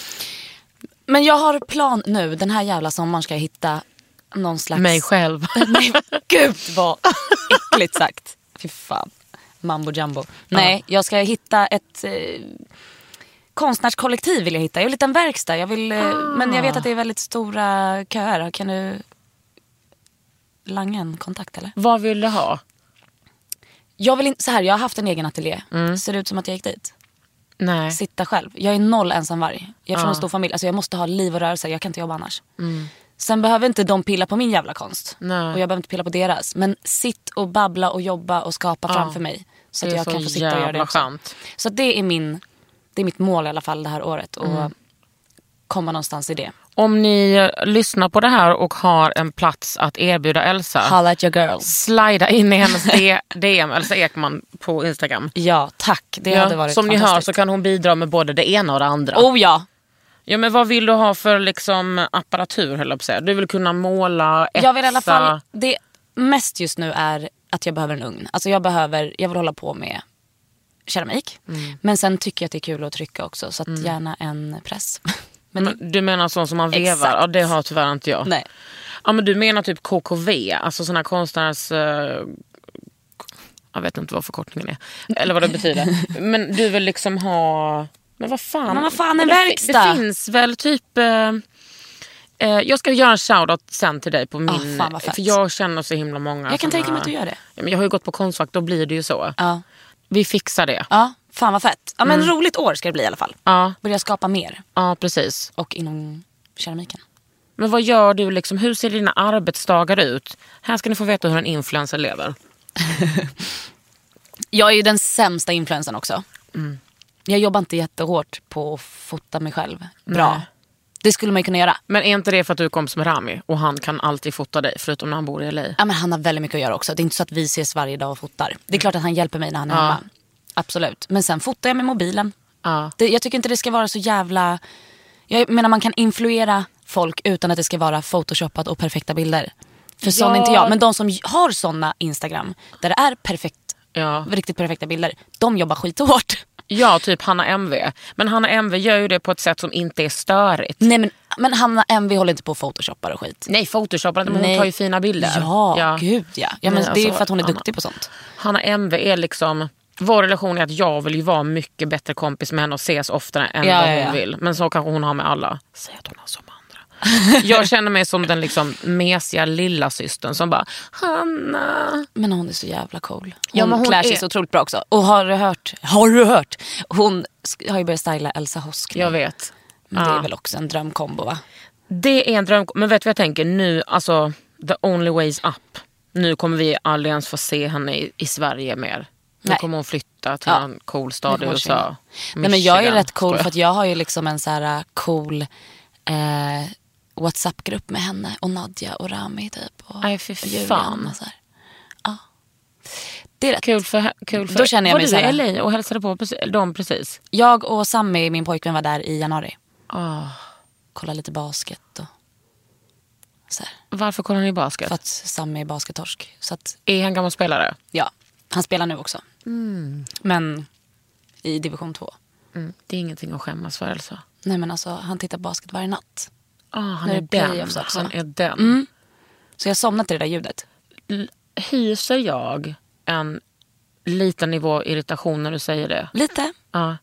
[SPEAKER 3] Men jag har plan nu, den här jävla sommaren ska jag hitta någon slags...
[SPEAKER 2] Mig själv.
[SPEAKER 3] Nej, gud vad äckligt sagt. Fy fan. Mambo jumbo. Nej, jag ska hitta ett eh, konstnärskollektiv vill jag hitta. Jag vill hitta en verkstad. Jag vill, eh, Men jag vet att det är väldigt stora köer. Kan du langa en kontakt eller?
[SPEAKER 2] Vad vill du ha?
[SPEAKER 3] Jag vill inte, så här, jag har haft en egen ateljé.
[SPEAKER 2] Mm.
[SPEAKER 3] Ser det ut som att jag gick dit?
[SPEAKER 2] Nej.
[SPEAKER 3] Sitta själv. Jag är noll ensamvarg. Jag är från en stor familj. Alltså jag måste ha liv och rörelse. Jag kan inte jobba annars. Sen behöver inte de pilla på min jävla konst.
[SPEAKER 2] Mm. Nej.
[SPEAKER 3] Och jag behöver inte pilla på deras. Men sitt och babbla och jobba och skapa framför mig. Så
[SPEAKER 2] Det
[SPEAKER 3] att
[SPEAKER 2] är
[SPEAKER 3] jag
[SPEAKER 2] så
[SPEAKER 3] kan få sitta och göra det
[SPEAKER 2] jävla
[SPEAKER 3] också.
[SPEAKER 2] skönt.
[SPEAKER 3] Så att det är min, det är mitt mål i alla fall det här året. Och
[SPEAKER 2] Mm.
[SPEAKER 3] komma någonstans i det.
[SPEAKER 2] Om ni eh, lyssnar på det här och har en plats att erbjuda Elsa,
[SPEAKER 3] Holla at your girls.
[SPEAKER 2] slida in i hennes D- DM, Elsa Ekman, på Instagram.
[SPEAKER 3] Ja, tack. Det hade varit
[SPEAKER 2] som ni hör
[SPEAKER 3] fantastiskt.
[SPEAKER 2] så kan hon bidra med både det ena och det andra.
[SPEAKER 3] Oh ja.
[SPEAKER 2] Ja, men vad vill du ha för liksom, apparatur? Höll jag på att säga. Du vill kunna måla, etsa.
[SPEAKER 3] Jag vill i alla fall, det mest just nu är att jag behöver en ugn. Alltså jag, behöver, jag vill hålla på med keramik.
[SPEAKER 2] Mm.
[SPEAKER 3] Men sen tycker jag att det är kul att trycka också. Så att gärna en press. Men det,
[SPEAKER 2] Men Mm, Du menar sån som man vevar?
[SPEAKER 3] Exakt.
[SPEAKER 2] Ja, det har tyvärr inte jag.
[SPEAKER 3] nej.
[SPEAKER 2] Ja, men du menar typ KKV, alltså såna här konstnärs... eh, jag vet inte vad förkortningen är. Eller vad det betyder. Men du vill liksom ha... Men vad fan.
[SPEAKER 3] Men vad fan, en
[SPEAKER 2] det,
[SPEAKER 3] verkstad?
[SPEAKER 2] Det finns väl typ... eh, eh, jag ska göra en shoutout sen till dig på min...
[SPEAKER 3] Ah, fan, vad fett.
[SPEAKER 2] för jag känner så himla många.
[SPEAKER 3] Jag
[SPEAKER 2] såna-
[SPEAKER 3] kan tänka mig att du gör Ah. det.
[SPEAKER 2] Ja, men jag har ju gått på konstfack, då blir det ju så.
[SPEAKER 3] Ja.
[SPEAKER 2] Vi fixar det.
[SPEAKER 3] ja, fan vad fett. Ja, men roligt år ska det bli i alla fall.
[SPEAKER 2] Mm. Ja,
[SPEAKER 3] Börja skapa mer.
[SPEAKER 2] ja precis.
[SPEAKER 3] Och inom keramiken.
[SPEAKER 2] Men vad gör du? Liksom, hur ser dina arbetsdagar ut? Här ska ni få veta hur en influencer lever.
[SPEAKER 3] Jag är ju den sämsta influensen också.
[SPEAKER 2] Mm.
[SPEAKER 3] Jag jobbar inte jättehårt på att fota mig själv bra.
[SPEAKER 2] Nej.
[SPEAKER 3] Det skulle man ju kunna göra.
[SPEAKER 2] Men är inte det för att du är kompis med Rami och han kan alltid fota dig förutom när han bor i LA?
[SPEAKER 3] Ja, men han har väldigt mycket att göra också. Det är inte så att vi ses varje dag och fotar. Det är klart att han hjälper mig när han är hemma. Absolut. Men sen fotar jag med mobilen.
[SPEAKER 2] Ja.
[SPEAKER 3] Det, jag tycker inte det ska vara så jävla... Jag menar man kan influera folk utan att det ska vara photoshopat och perfekta bilder. För sån
[SPEAKER 2] Ja.
[SPEAKER 3] är inte jag. Men de som har såna Instagram där det är perfekt,
[SPEAKER 2] Ja.
[SPEAKER 3] riktigt perfekta bilder, de jobbar skithårt.
[SPEAKER 2] ja, typ Hanna MV. Men Hanna MV gör ju det på ett sätt som inte är störigt.
[SPEAKER 3] Nej men, men Hanna MV håller inte på och photoshoppar och skit.
[SPEAKER 2] Nej, photoshoppar inte, men hon
[SPEAKER 3] Nej.
[SPEAKER 2] tar ju fina bilder.
[SPEAKER 3] Ja, gud ja. ja men
[SPEAKER 2] Nej,
[SPEAKER 3] det är ju
[SPEAKER 2] alltså,
[SPEAKER 3] för att hon är
[SPEAKER 2] Hanna-
[SPEAKER 3] duktig på sånt.
[SPEAKER 2] Hanna MV är liksom... Vår relation är att jag vill ju vara mycket bättre kompis med henne och ses oftare än
[SPEAKER 3] Ja,
[SPEAKER 2] vad hon
[SPEAKER 3] ja, ja.
[SPEAKER 2] vill. Men så kanske hon har med alla. Säg att hon har som andra. Jag känner mig som den liksom mesiga lilla systern som bara “Hanna”.
[SPEAKER 3] Men hon är så jävla cool. Hon,
[SPEAKER 2] Ja, men hon
[SPEAKER 3] klär sig
[SPEAKER 2] är-
[SPEAKER 3] så otroligt bra också. Och har du hört? Har du hört? Hon sk- har ju börjat styla Elsa Hosk nu.
[SPEAKER 2] Jag vet.
[SPEAKER 3] Men det
[SPEAKER 2] Ja.
[SPEAKER 3] är väl också en drömkombo va?
[SPEAKER 2] Det är en dröm. Men vet du vad jag tänker? Nu, alltså, the only ways up. Nu kommer vi aldrig ens få se henne i, i Sverige mer. Nu
[SPEAKER 3] Nej.
[SPEAKER 2] kommer hon flytta till
[SPEAKER 3] Ja.
[SPEAKER 2] en cool
[SPEAKER 3] Nu
[SPEAKER 2] stad i
[SPEAKER 3] kommer hon
[SPEAKER 2] USA.
[SPEAKER 3] försvinna. Nej, men jag är
[SPEAKER 2] Michigan,
[SPEAKER 3] rätt cool
[SPEAKER 2] skojar.
[SPEAKER 3] för att jag har ju liksom en så här cool eh, WhatsApp-grupp med henne och Nadja och Rami typ. Och,
[SPEAKER 2] Aj, fy
[SPEAKER 3] och Julian
[SPEAKER 2] fan.
[SPEAKER 3] och så här. Ja. Det är rätt.
[SPEAKER 2] Kul för, kul för
[SPEAKER 3] Då känner jag
[SPEAKER 2] Var
[SPEAKER 3] mig
[SPEAKER 2] du
[SPEAKER 3] så här-
[SPEAKER 2] i LA och hälsade på precis, dem precis?
[SPEAKER 3] Jag och Sammy, min pojkvän, var där i januari.
[SPEAKER 2] Ah,
[SPEAKER 3] Kollade lite basket och så här.
[SPEAKER 2] varför kollar ni basket?
[SPEAKER 3] För att Sammy är baskettorsk. Så att
[SPEAKER 2] Är han gammal spelare?
[SPEAKER 3] Ja, han spelar nu också. Mm. Men i division 2.
[SPEAKER 2] Mm. Det är ingenting att skämmas för Elsa.
[SPEAKER 3] Nej men alltså han tittar basket varje natt.
[SPEAKER 2] Ah, han,
[SPEAKER 3] Nu är
[SPEAKER 2] är
[SPEAKER 3] det
[SPEAKER 2] den.
[SPEAKER 3] playoffs också.
[SPEAKER 2] han är den.
[SPEAKER 3] Så jag somnade till det där ljudet.
[SPEAKER 2] L- Hyser jag en liten nivå irritation när du säger det?
[SPEAKER 3] Lite,
[SPEAKER 2] Ja.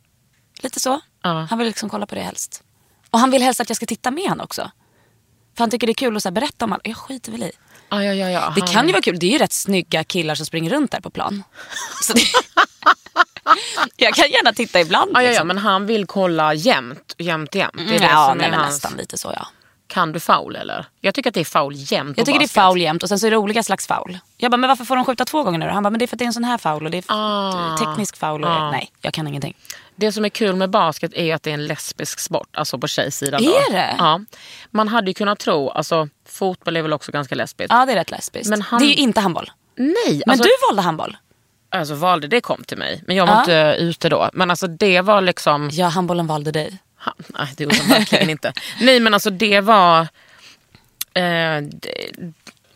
[SPEAKER 3] lite så.
[SPEAKER 2] Ja.
[SPEAKER 3] Han vill liksom kolla på det helst. Och han vill helst att jag ska titta med honom också. För han tycker det är kul att så här berätta om allt. Jag skiter väl i.
[SPEAKER 2] Ah, ja, ja, ja.
[SPEAKER 3] Det
[SPEAKER 2] han-
[SPEAKER 3] kan ju vara kul. Det är ju rätt snygga killar som springer runt där på plan. Så det... jag kan gärna titta ibland.
[SPEAKER 2] Ja, ja, ja,
[SPEAKER 3] liksom. Mm,
[SPEAKER 2] men han vill kolla jämt, jämt, jämt. Det är det
[SPEAKER 3] ja
[SPEAKER 2] som
[SPEAKER 3] nej,
[SPEAKER 2] är
[SPEAKER 3] men
[SPEAKER 2] hans...
[SPEAKER 3] nästan lite så ja.
[SPEAKER 2] Kan du foul eller? Jag tycker att det är foul jämt på
[SPEAKER 3] Jag tycker
[SPEAKER 2] basket.
[SPEAKER 3] det är foul jämt och sen så är det olika slags foul. Jag bara, men varför får de skjuta två gånger nu då? Han bara, men det är för att det är en sån här foul och det är
[SPEAKER 2] Ah.
[SPEAKER 3] teknisk foul. Och
[SPEAKER 2] Ah.
[SPEAKER 3] Nej, jag kan ingenting.
[SPEAKER 2] Det som är kul med basket är ju att det är en lesbisk sport, alltså på tjejsidan. då.
[SPEAKER 3] Är det?
[SPEAKER 2] Ja. Man hade ju kunnat tro, alltså fotboll är väl också ganska lesbiskt.
[SPEAKER 3] Ja, det är rätt lesbiskt.
[SPEAKER 2] Men han-
[SPEAKER 3] Det är ju inte handboll.
[SPEAKER 2] Nej,
[SPEAKER 3] Men
[SPEAKER 2] alltså,
[SPEAKER 3] du valde handboll.
[SPEAKER 2] alltså valde det kom till mig. Men jag var
[SPEAKER 3] Ja.
[SPEAKER 2] inte ute då. Men alltså det var liksom...
[SPEAKER 3] Ja, handbollen valde dig.
[SPEAKER 2] Ha, nej, det gjorde de verkligen inte. Nej, men alltså det var... Eh, det,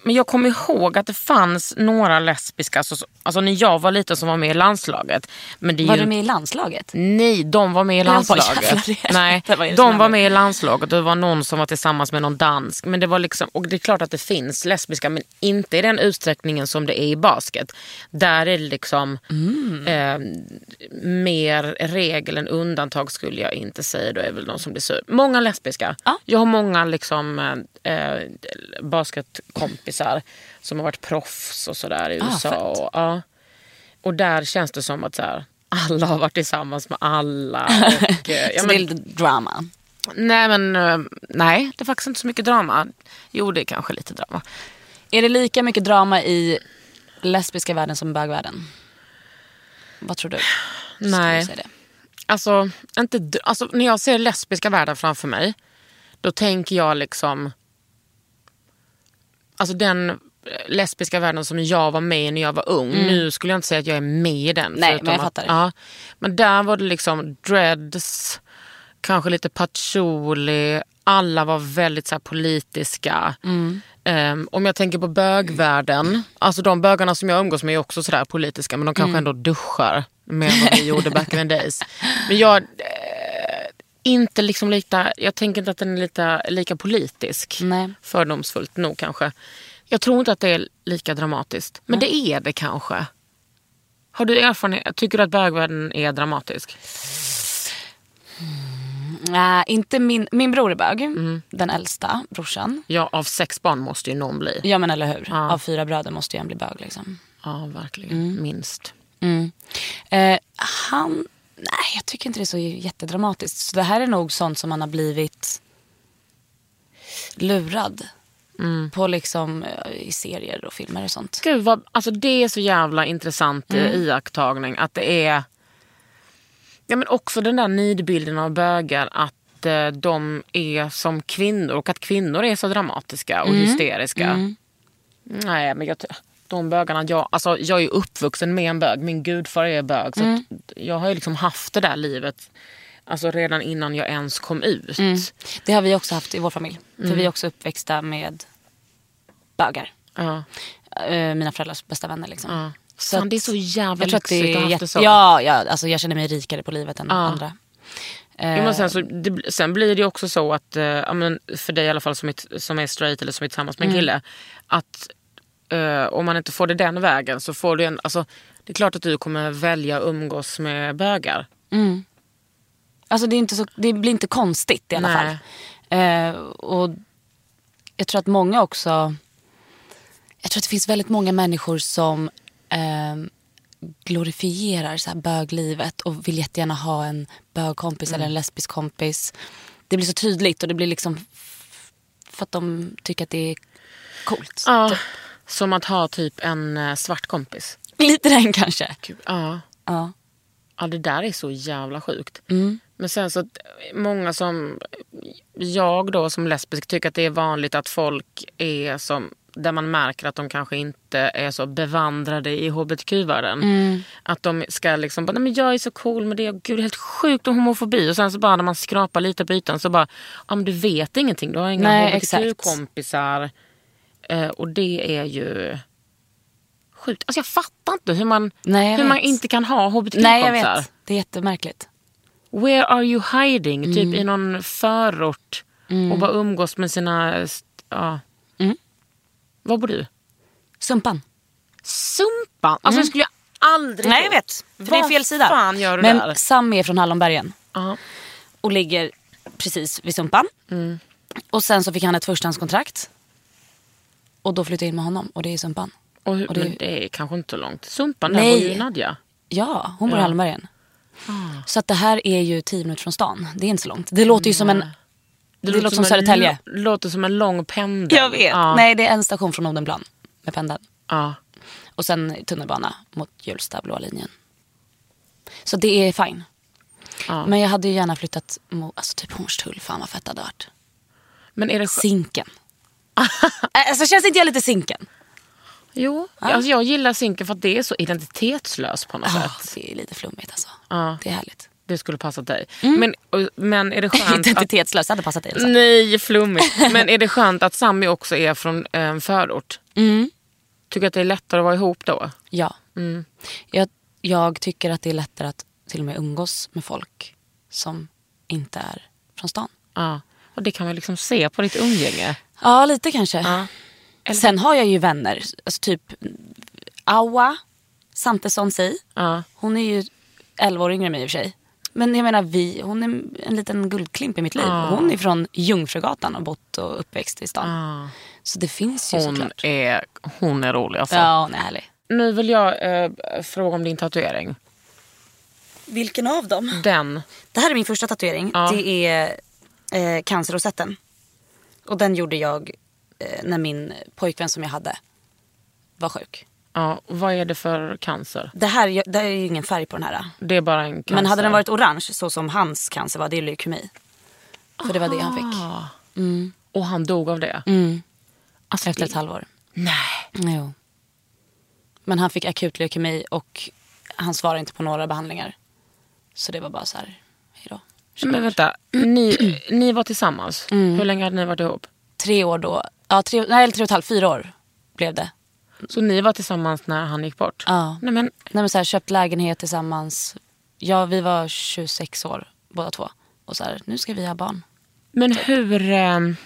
[SPEAKER 2] men jag kommer ihåg att det fanns några lesbiska, alltså, så- Alltså när jag var liten som var med i landslaget. Men det är
[SPEAKER 3] Var
[SPEAKER 2] ju
[SPEAKER 3] du med i landslaget?
[SPEAKER 2] Nej, de var med i
[SPEAKER 3] bara,
[SPEAKER 2] landslaget.
[SPEAKER 3] jävlar, det-
[SPEAKER 2] Nej,
[SPEAKER 3] det var ju det som
[SPEAKER 2] de var
[SPEAKER 3] hände.
[SPEAKER 2] med i landslaget och det var någon som var tillsammans med någon dansk. Men det var liksom, och det är klart att det finns lesbiska men inte i den utsträckningen som det är i basket. Där är det liksom
[SPEAKER 3] Mm.
[SPEAKER 2] eh, mer regel än undantag skulle jag inte säga. Då är väl de som blir sur. Många lesbiska.
[SPEAKER 3] Ja.
[SPEAKER 2] Jag har många liksom, eh, eh, basketkompisar som har varit proffs och sådär i
[SPEAKER 3] Ah,
[SPEAKER 2] USA.
[SPEAKER 3] fett.
[SPEAKER 2] och, ja. och där känns det som att så här, alla har varit tillsammans med alla. Och, eh, ja,
[SPEAKER 3] Så det är
[SPEAKER 2] men,
[SPEAKER 3] lite drama.
[SPEAKER 2] nej, men, eh, nej, det är faktiskt inte så mycket drama. Jo, det är kanske lite drama.
[SPEAKER 3] Är det lika mycket drama i lesbiska världen som i bögvärlden? Vad tror du? Skulle
[SPEAKER 2] Nej.
[SPEAKER 3] du säga det?
[SPEAKER 2] Alltså, inte, dr- alltså, när jag ser lesbiska världen framför mig, då tänker jag liksom... Alltså den eh, lesbiska världen som jag var med i när jag var ung. Nu skulle jag inte säga att jag är med i den.
[SPEAKER 3] Mm. Nej,
[SPEAKER 2] förutom
[SPEAKER 3] men jag
[SPEAKER 2] att-
[SPEAKER 3] fattar.
[SPEAKER 2] Ja, men där var det liksom dreads, kanske lite patchouli. Alla var väldigt så här, politiska.
[SPEAKER 3] Mm.
[SPEAKER 2] Ehm, om jag tänker på bögvärlden, alltså de bögarna som jag umgås med är också sådär politiska men de
[SPEAKER 3] Mm.
[SPEAKER 2] kanske ändå duschar mer än vad vi gjorde back in the days. Men jag, inte liksom lika, jag tänker inte att den är lika, lika politisk.
[SPEAKER 3] Nej.
[SPEAKER 2] Fördomsfullt nog kanske. Jag tror inte att det är lika dramatiskt. Men det är det kanske. Har du erfarenhet? Tycker du att bögvärlden är dramatisk?
[SPEAKER 3] Nej, inte min, min bror är bög,
[SPEAKER 2] Mm.
[SPEAKER 3] den äldsta brorsan.
[SPEAKER 2] Ja, av sex barn måste ju någon bli.
[SPEAKER 3] Ja men eller hur,
[SPEAKER 2] Ja.
[SPEAKER 3] av fyra bröder måste ju en bli bög liksom.
[SPEAKER 2] Ja, verkligen. Minst.
[SPEAKER 3] Mm. Eh, han, nej jag tycker inte det är så jättedramatiskt. Så det här är nog sånt som man har blivit lurad
[SPEAKER 2] Mm.
[SPEAKER 3] på liksom eh, i serier och filmer och sånt.
[SPEAKER 2] Gud, vad, alltså det är så jävla intressant eh, iakttagning. Att det är... Ja, men också den där nidbilden av bögar. Att eh, de är som kvinnor och att kvinnor är så dramatiska och hysteriska. Nej, men jag, ty- de bögarna... Jag, alltså, jag är ju uppvuxen med en bög. Min gudfar är bög. Så att jag har ju liksom haft det där livet alltså, redan innan jag ens kom ut.
[SPEAKER 3] Det har vi också haft i vår familj.
[SPEAKER 2] Mm.
[SPEAKER 3] För vi är också uppväxta med bögar.
[SPEAKER 2] Ja.
[SPEAKER 3] Eh, mina föräldrars bästa vänner. Liksom.
[SPEAKER 2] Ja. Fan,
[SPEAKER 3] att-
[SPEAKER 2] det är så jävla
[SPEAKER 3] jag tror att det
[SPEAKER 2] lyxigt att
[SPEAKER 3] är
[SPEAKER 2] ha haft
[SPEAKER 3] jätte-
[SPEAKER 2] det så.
[SPEAKER 3] Ja, ja alltså jag känner mig rikare på livet än andra. Eh,
[SPEAKER 2] Jo, men sen, så, det, sen blir det ju också så att, eh, ja, men för dig i alla fall som är, som är straight eller som är tillsammans med en kille, att eh, om man inte får det den vägen så får du en, alltså, det är klart att du kommer välja att umgås med bögar.
[SPEAKER 3] Alltså det, är inte så, det blir inte konstigt i alla
[SPEAKER 2] Nej.
[SPEAKER 3] fall. Eh, och jag tror att många också... Jag tror att det finns väldigt många människor som eh, glorifierar så här böglivet och vill jättegärna ha en bögkompis eller en lesbisk kompis. Det blir så tydligt och det blir liksom f- för att de tycker att det är coolt.
[SPEAKER 2] Ja, Typ, som att ha typ en eh, svart kompis.
[SPEAKER 3] Lite den kanske.
[SPEAKER 2] Gud, ja.
[SPEAKER 3] Ja.
[SPEAKER 2] Ja, det där är så jävla sjukt.
[SPEAKER 3] Mm.
[SPEAKER 2] Men sen så att många som jag då som lesbisk tycker att det är vanligt att folk är som där man märker att de kanske inte är så bevandrade i hbtq-världen.
[SPEAKER 3] Mm.
[SPEAKER 2] Att de ska liksom bara, nej men jag är så cool med det, och gud det är helt sjukt och homofobi. Och sen så bara när man skrapar lite på ytan så bara, ja men du vet ingenting, du har inga
[SPEAKER 3] Nej, exakt.
[SPEAKER 2] hbtq-kompisar. Eh, och det är ju sjukt. Alltså jag fattar inte hur man,
[SPEAKER 3] Nej, jag
[SPEAKER 2] hur man
[SPEAKER 3] vet.
[SPEAKER 2] inte kan ha
[SPEAKER 3] Nej, jag
[SPEAKER 2] hbtq-kompisar.
[SPEAKER 3] vet. Det är jättemärkligt.
[SPEAKER 2] Where are you hiding? Typ i någon förort och bara umgås med sina... Ja.
[SPEAKER 3] Mm.
[SPEAKER 2] Var bor du?
[SPEAKER 3] Sumpan.
[SPEAKER 2] Sumpan? Alltså det skulle jag aldrig
[SPEAKER 3] Nej,
[SPEAKER 2] tro.
[SPEAKER 3] jag vet. För det är
[SPEAKER 2] Vad
[SPEAKER 3] fel sida.
[SPEAKER 2] fan gör du
[SPEAKER 3] Men
[SPEAKER 2] där?
[SPEAKER 3] Sammy är från Hallonbergen
[SPEAKER 2] Ja.
[SPEAKER 3] och ligger precis vid Sumpan. Och sen så fick han ett förstahandskontrakt. Och då flyttade jag in med honom och det är i Sumpan.
[SPEAKER 2] Och, hur-
[SPEAKER 3] Och det-
[SPEAKER 2] Men det är kanske inte så långt. Sumpan, där
[SPEAKER 3] Nej.
[SPEAKER 2] bor ju Nadja.
[SPEAKER 3] Ja, Ah. hon bor i Hallonbergen. Så att det här är ju tio minuter från stan. Det är inte så långt. Det låter ju som en... Mm. Det, låter som,
[SPEAKER 2] en
[SPEAKER 3] Södertälje.
[SPEAKER 2] lo- låter som en lång pendel. Ja.
[SPEAKER 3] Nej, det är en station från Odenplan med pendeln.
[SPEAKER 2] Ja.
[SPEAKER 3] Och sen tunnelbana mot Hjulsta, blåa linjen. Så det är fine.
[SPEAKER 2] Ja.
[SPEAKER 3] Men jag hade ju gärna flyttat mot alltså typ Hornstull. Fan vad fett det hade varit.
[SPEAKER 2] Men är det skö-
[SPEAKER 3] Zinken. Äh, alltså känns inte jag lite Zinken?
[SPEAKER 2] Jo, alltså jag gillar Zinken för att det är så identitetslöst på något
[SPEAKER 3] Ah,
[SPEAKER 2] sätt.
[SPEAKER 3] det är lite flummigt alltså.
[SPEAKER 2] Ja.
[SPEAKER 3] Det är härligt.
[SPEAKER 2] Det skulle passa dig. Men, och- men är det skönt att
[SPEAKER 3] Identitetslöst, det hade passat dig. Elsa.
[SPEAKER 2] Nej, flummigt. Men är det skönt att eh, Mm. Sammy också är från en förort? Tycker du att det är lättare att vara ihop då?
[SPEAKER 3] Ja. Mm. Jag, jag tycker att det är lättare att till och med umgås med folk som inte är från stan.
[SPEAKER 2] Ja. Och det kan man liksom se på ditt umgänge.
[SPEAKER 3] Ja, lite kanske.
[SPEAKER 2] Eller-
[SPEAKER 3] Sen har jag ju vänner, alltså typ Awa Santesson Si.
[SPEAKER 2] Ja.
[SPEAKER 3] Hon är ju 11 år yngre än mig i och för sig. Men jag menar vi, hon är en liten guldklimp i mitt liv.
[SPEAKER 2] Ja.
[SPEAKER 3] Hon är från Jungfrugatan och bott och uppväxt i stan.
[SPEAKER 2] Ja.
[SPEAKER 3] Så det finns ju
[SPEAKER 2] Ah. Hon,
[SPEAKER 3] såklart.
[SPEAKER 2] är, hon är rolig alltså.
[SPEAKER 3] Ja, hon är härlig.
[SPEAKER 2] Nu vill jag eh, fråga om din tatuering.
[SPEAKER 3] Vilken av dem?
[SPEAKER 2] Den.
[SPEAKER 3] Det här är min första tatuering.
[SPEAKER 2] Ja.
[SPEAKER 3] Det är eh, cancerrosetten. Och den gjorde jag eh, när min pojkvän som jag hade var sjuk.
[SPEAKER 2] Ja, vad är det för cancer?
[SPEAKER 3] Det här jag- det här är ju ingen färg på den här.
[SPEAKER 2] Det är bara en cancer.
[SPEAKER 3] Men hade den varit orange så som hans cancer var, det är leukemi. För det var det han fick.
[SPEAKER 2] Ah. Och han dog av det?
[SPEAKER 3] Mm.
[SPEAKER 2] Alltså,
[SPEAKER 3] Efter ett
[SPEAKER 2] det-
[SPEAKER 3] halvår.
[SPEAKER 2] Nej.
[SPEAKER 3] Jo. Men han fick akut leukemi och han svarade inte på några behandlingar. Så det var bara så här, hejdå.
[SPEAKER 2] Men vänta, ni, ni var tillsammans. Hur länge hade ni varit ihop?
[SPEAKER 3] Tre år då, ja tre, nej, eller tre och ett halvt, fyra år blev det.
[SPEAKER 2] Så ni var tillsammans när han gick bort?
[SPEAKER 3] Ja.
[SPEAKER 2] Nej, men,
[SPEAKER 3] Nej, men så här, köpt lägenhet tillsammans. Ja, vi var 26 år båda två. Och så här, nu ska vi ha barn.
[SPEAKER 2] men hur... ehm,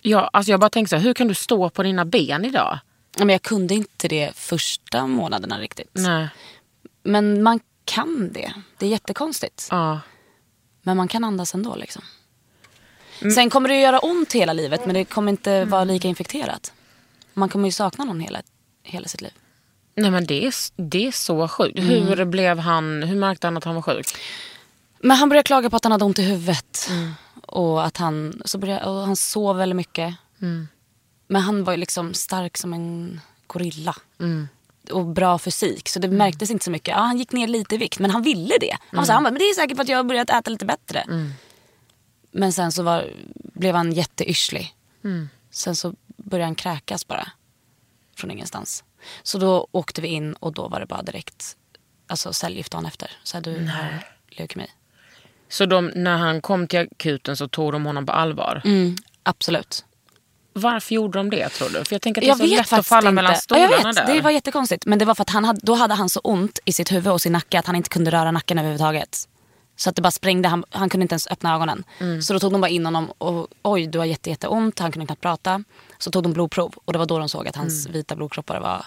[SPEAKER 2] ja, alltså jag bara tänker så här, hur kan du stå på dina ben idag?
[SPEAKER 3] Ja, Men jag kunde inte det första månaderna riktigt.
[SPEAKER 2] Nej.
[SPEAKER 3] Men man kan det. Det är jättekonstigt.
[SPEAKER 2] Ja.
[SPEAKER 3] Men man kan andas ändå liksom. Sen kommer det ju göra ont hela livet men det kommer inte vara lika infekterat. Man kommer ju sakna någon hela, hela sitt liv.
[SPEAKER 2] Nej men det är, s- det är så sjukt.
[SPEAKER 3] Mm.
[SPEAKER 2] Hur, blev han, hur märkte han att han var sjuk?
[SPEAKER 3] Men han började klaga på att han hade ont i huvudet. Och att han, så började, och han sov väldigt mycket. Men han var ju liksom stark som en gorilla. Och bra fysik. Så det märktes inte så mycket. Ja, han gick ner lite i vikt men han ville det. Han, var så här, han bara, men det är säkert för att jag har börjat äta lite bättre. Men sen så var, blev han jätteyrslig. Sen så började han kräkas bara. Från ingenstans. Så då åkte vi in och då var det bara direkt alltså cellgift dagen efter. Så här, du har leukemi.
[SPEAKER 2] Så de, när han kom till akuten så tog de honom på allvar.
[SPEAKER 3] Mm, absolut.
[SPEAKER 2] Varför gjorde de det tror du? För jag tänker att det är så
[SPEAKER 3] Jag vet
[SPEAKER 2] lätt att
[SPEAKER 3] faktiskt
[SPEAKER 2] falla
[SPEAKER 3] inte.
[SPEAKER 2] mellan
[SPEAKER 3] Ja,
[SPEAKER 2] stolarna
[SPEAKER 3] jag vet,
[SPEAKER 2] där.
[SPEAKER 3] Det var jättekonstigt. Men det var för att han hade, då hade han så ont i sitt huvud och sin nacke att han inte kunde röra nacken överhuvudtaget. Så att det bara sprängde, han, han kunde inte ens öppna ögonen.
[SPEAKER 2] Mm.
[SPEAKER 3] Så då tog de bara in honom och oj du har jätte, jätteont, han kunde knappt prata. Så tog de blodprov och det var då de såg att hans
[SPEAKER 2] Mm.
[SPEAKER 3] vita blodkroppar var,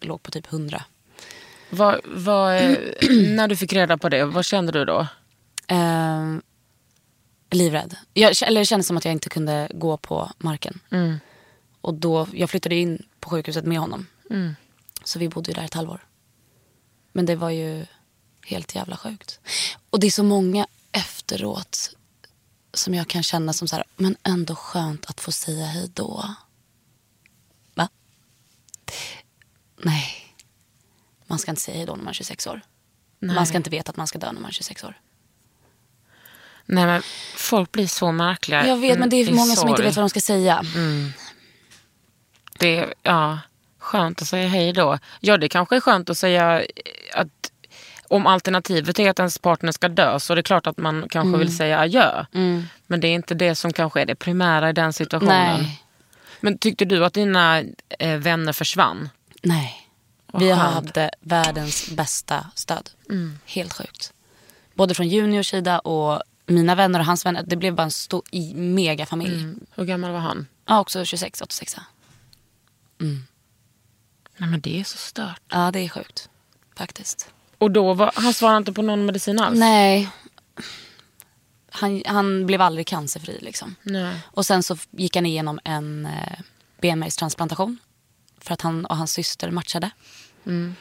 [SPEAKER 3] låg på typ 100.
[SPEAKER 2] Vad, vad, eh, när du fick reda på det, vad kände du då?
[SPEAKER 3] Ehm, livrädd. Jag, eller det kändes som att jag inte kunde gå på marken. Och då, jag flyttade ju in på sjukhuset med honom. Så vi bodde ju där ett halvår. Men det var ju helt jävla sjukt. Och det är så många efteråt som jag kan känna som så här, men ändå skönt att få säga hej då. Va? Nej. Man ska inte säga hej då när man är 26 år. Man ska inte veta att man ska dö när man är 26 år.
[SPEAKER 2] Nej, men folk blir så märkliga.
[SPEAKER 3] Jag vet, men det är
[SPEAKER 2] Mm, i
[SPEAKER 3] många som inte
[SPEAKER 2] sorg.
[SPEAKER 3] vet vad de ska säga.
[SPEAKER 2] Det är ja, skönt att säga hej då. Ja, det kanske är skönt att säga eh, att om alternativet är att ens partner ska dö så är det klart att man kanske vill säga adjö. Men det är inte det som kanske är det primära i den situationen.
[SPEAKER 3] Nej.
[SPEAKER 2] Men tyckte du att dina eh, vänner försvann?
[SPEAKER 3] Nej. Vi har
[SPEAKER 2] skönt.
[SPEAKER 3] haft eh, världens bästa stöd. Helt sjukt. Både från Juniors sida och mina vänner och hans vänner. Det blev bara en stor i- megafamilj.
[SPEAKER 2] Hur gammal var han?
[SPEAKER 3] Ja, också 26, 86.
[SPEAKER 2] Nej men det är så stört.
[SPEAKER 3] Ja, det är sjukt. Faktiskt.
[SPEAKER 2] Och då var, han svarade inte på någon medicin alls?
[SPEAKER 3] Nej. Han, han blev aldrig cancerfri liksom.
[SPEAKER 2] Nej.
[SPEAKER 3] Och sen så gick han igenom en eh, benmärgstransplantation. För att han och hans syster matchade. Eh,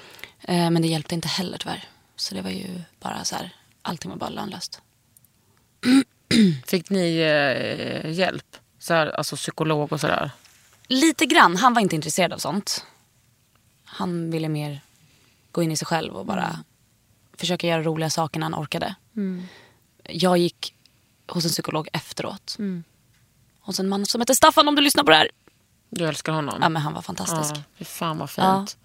[SPEAKER 3] men det hjälpte inte heller tyvärr. Så det var ju bara så här, allting var bara lönlöst.
[SPEAKER 2] Fick ni eh, hjälp? Så här, alltså psykolog och sådär?
[SPEAKER 3] Lite grann, han var inte intresserad av sånt. Han ville mer gå in i sig själv och bara försöka göra roliga saker när han orkade. Jag gick hos en psykolog efteråt. Hos en man som heter Staffan om du lyssnar på det här.
[SPEAKER 2] Jag älskar honom.
[SPEAKER 3] Ja men han var fantastisk.
[SPEAKER 2] Ja, fy fan vad
[SPEAKER 3] Ja.
[SPEAKER 2] fint.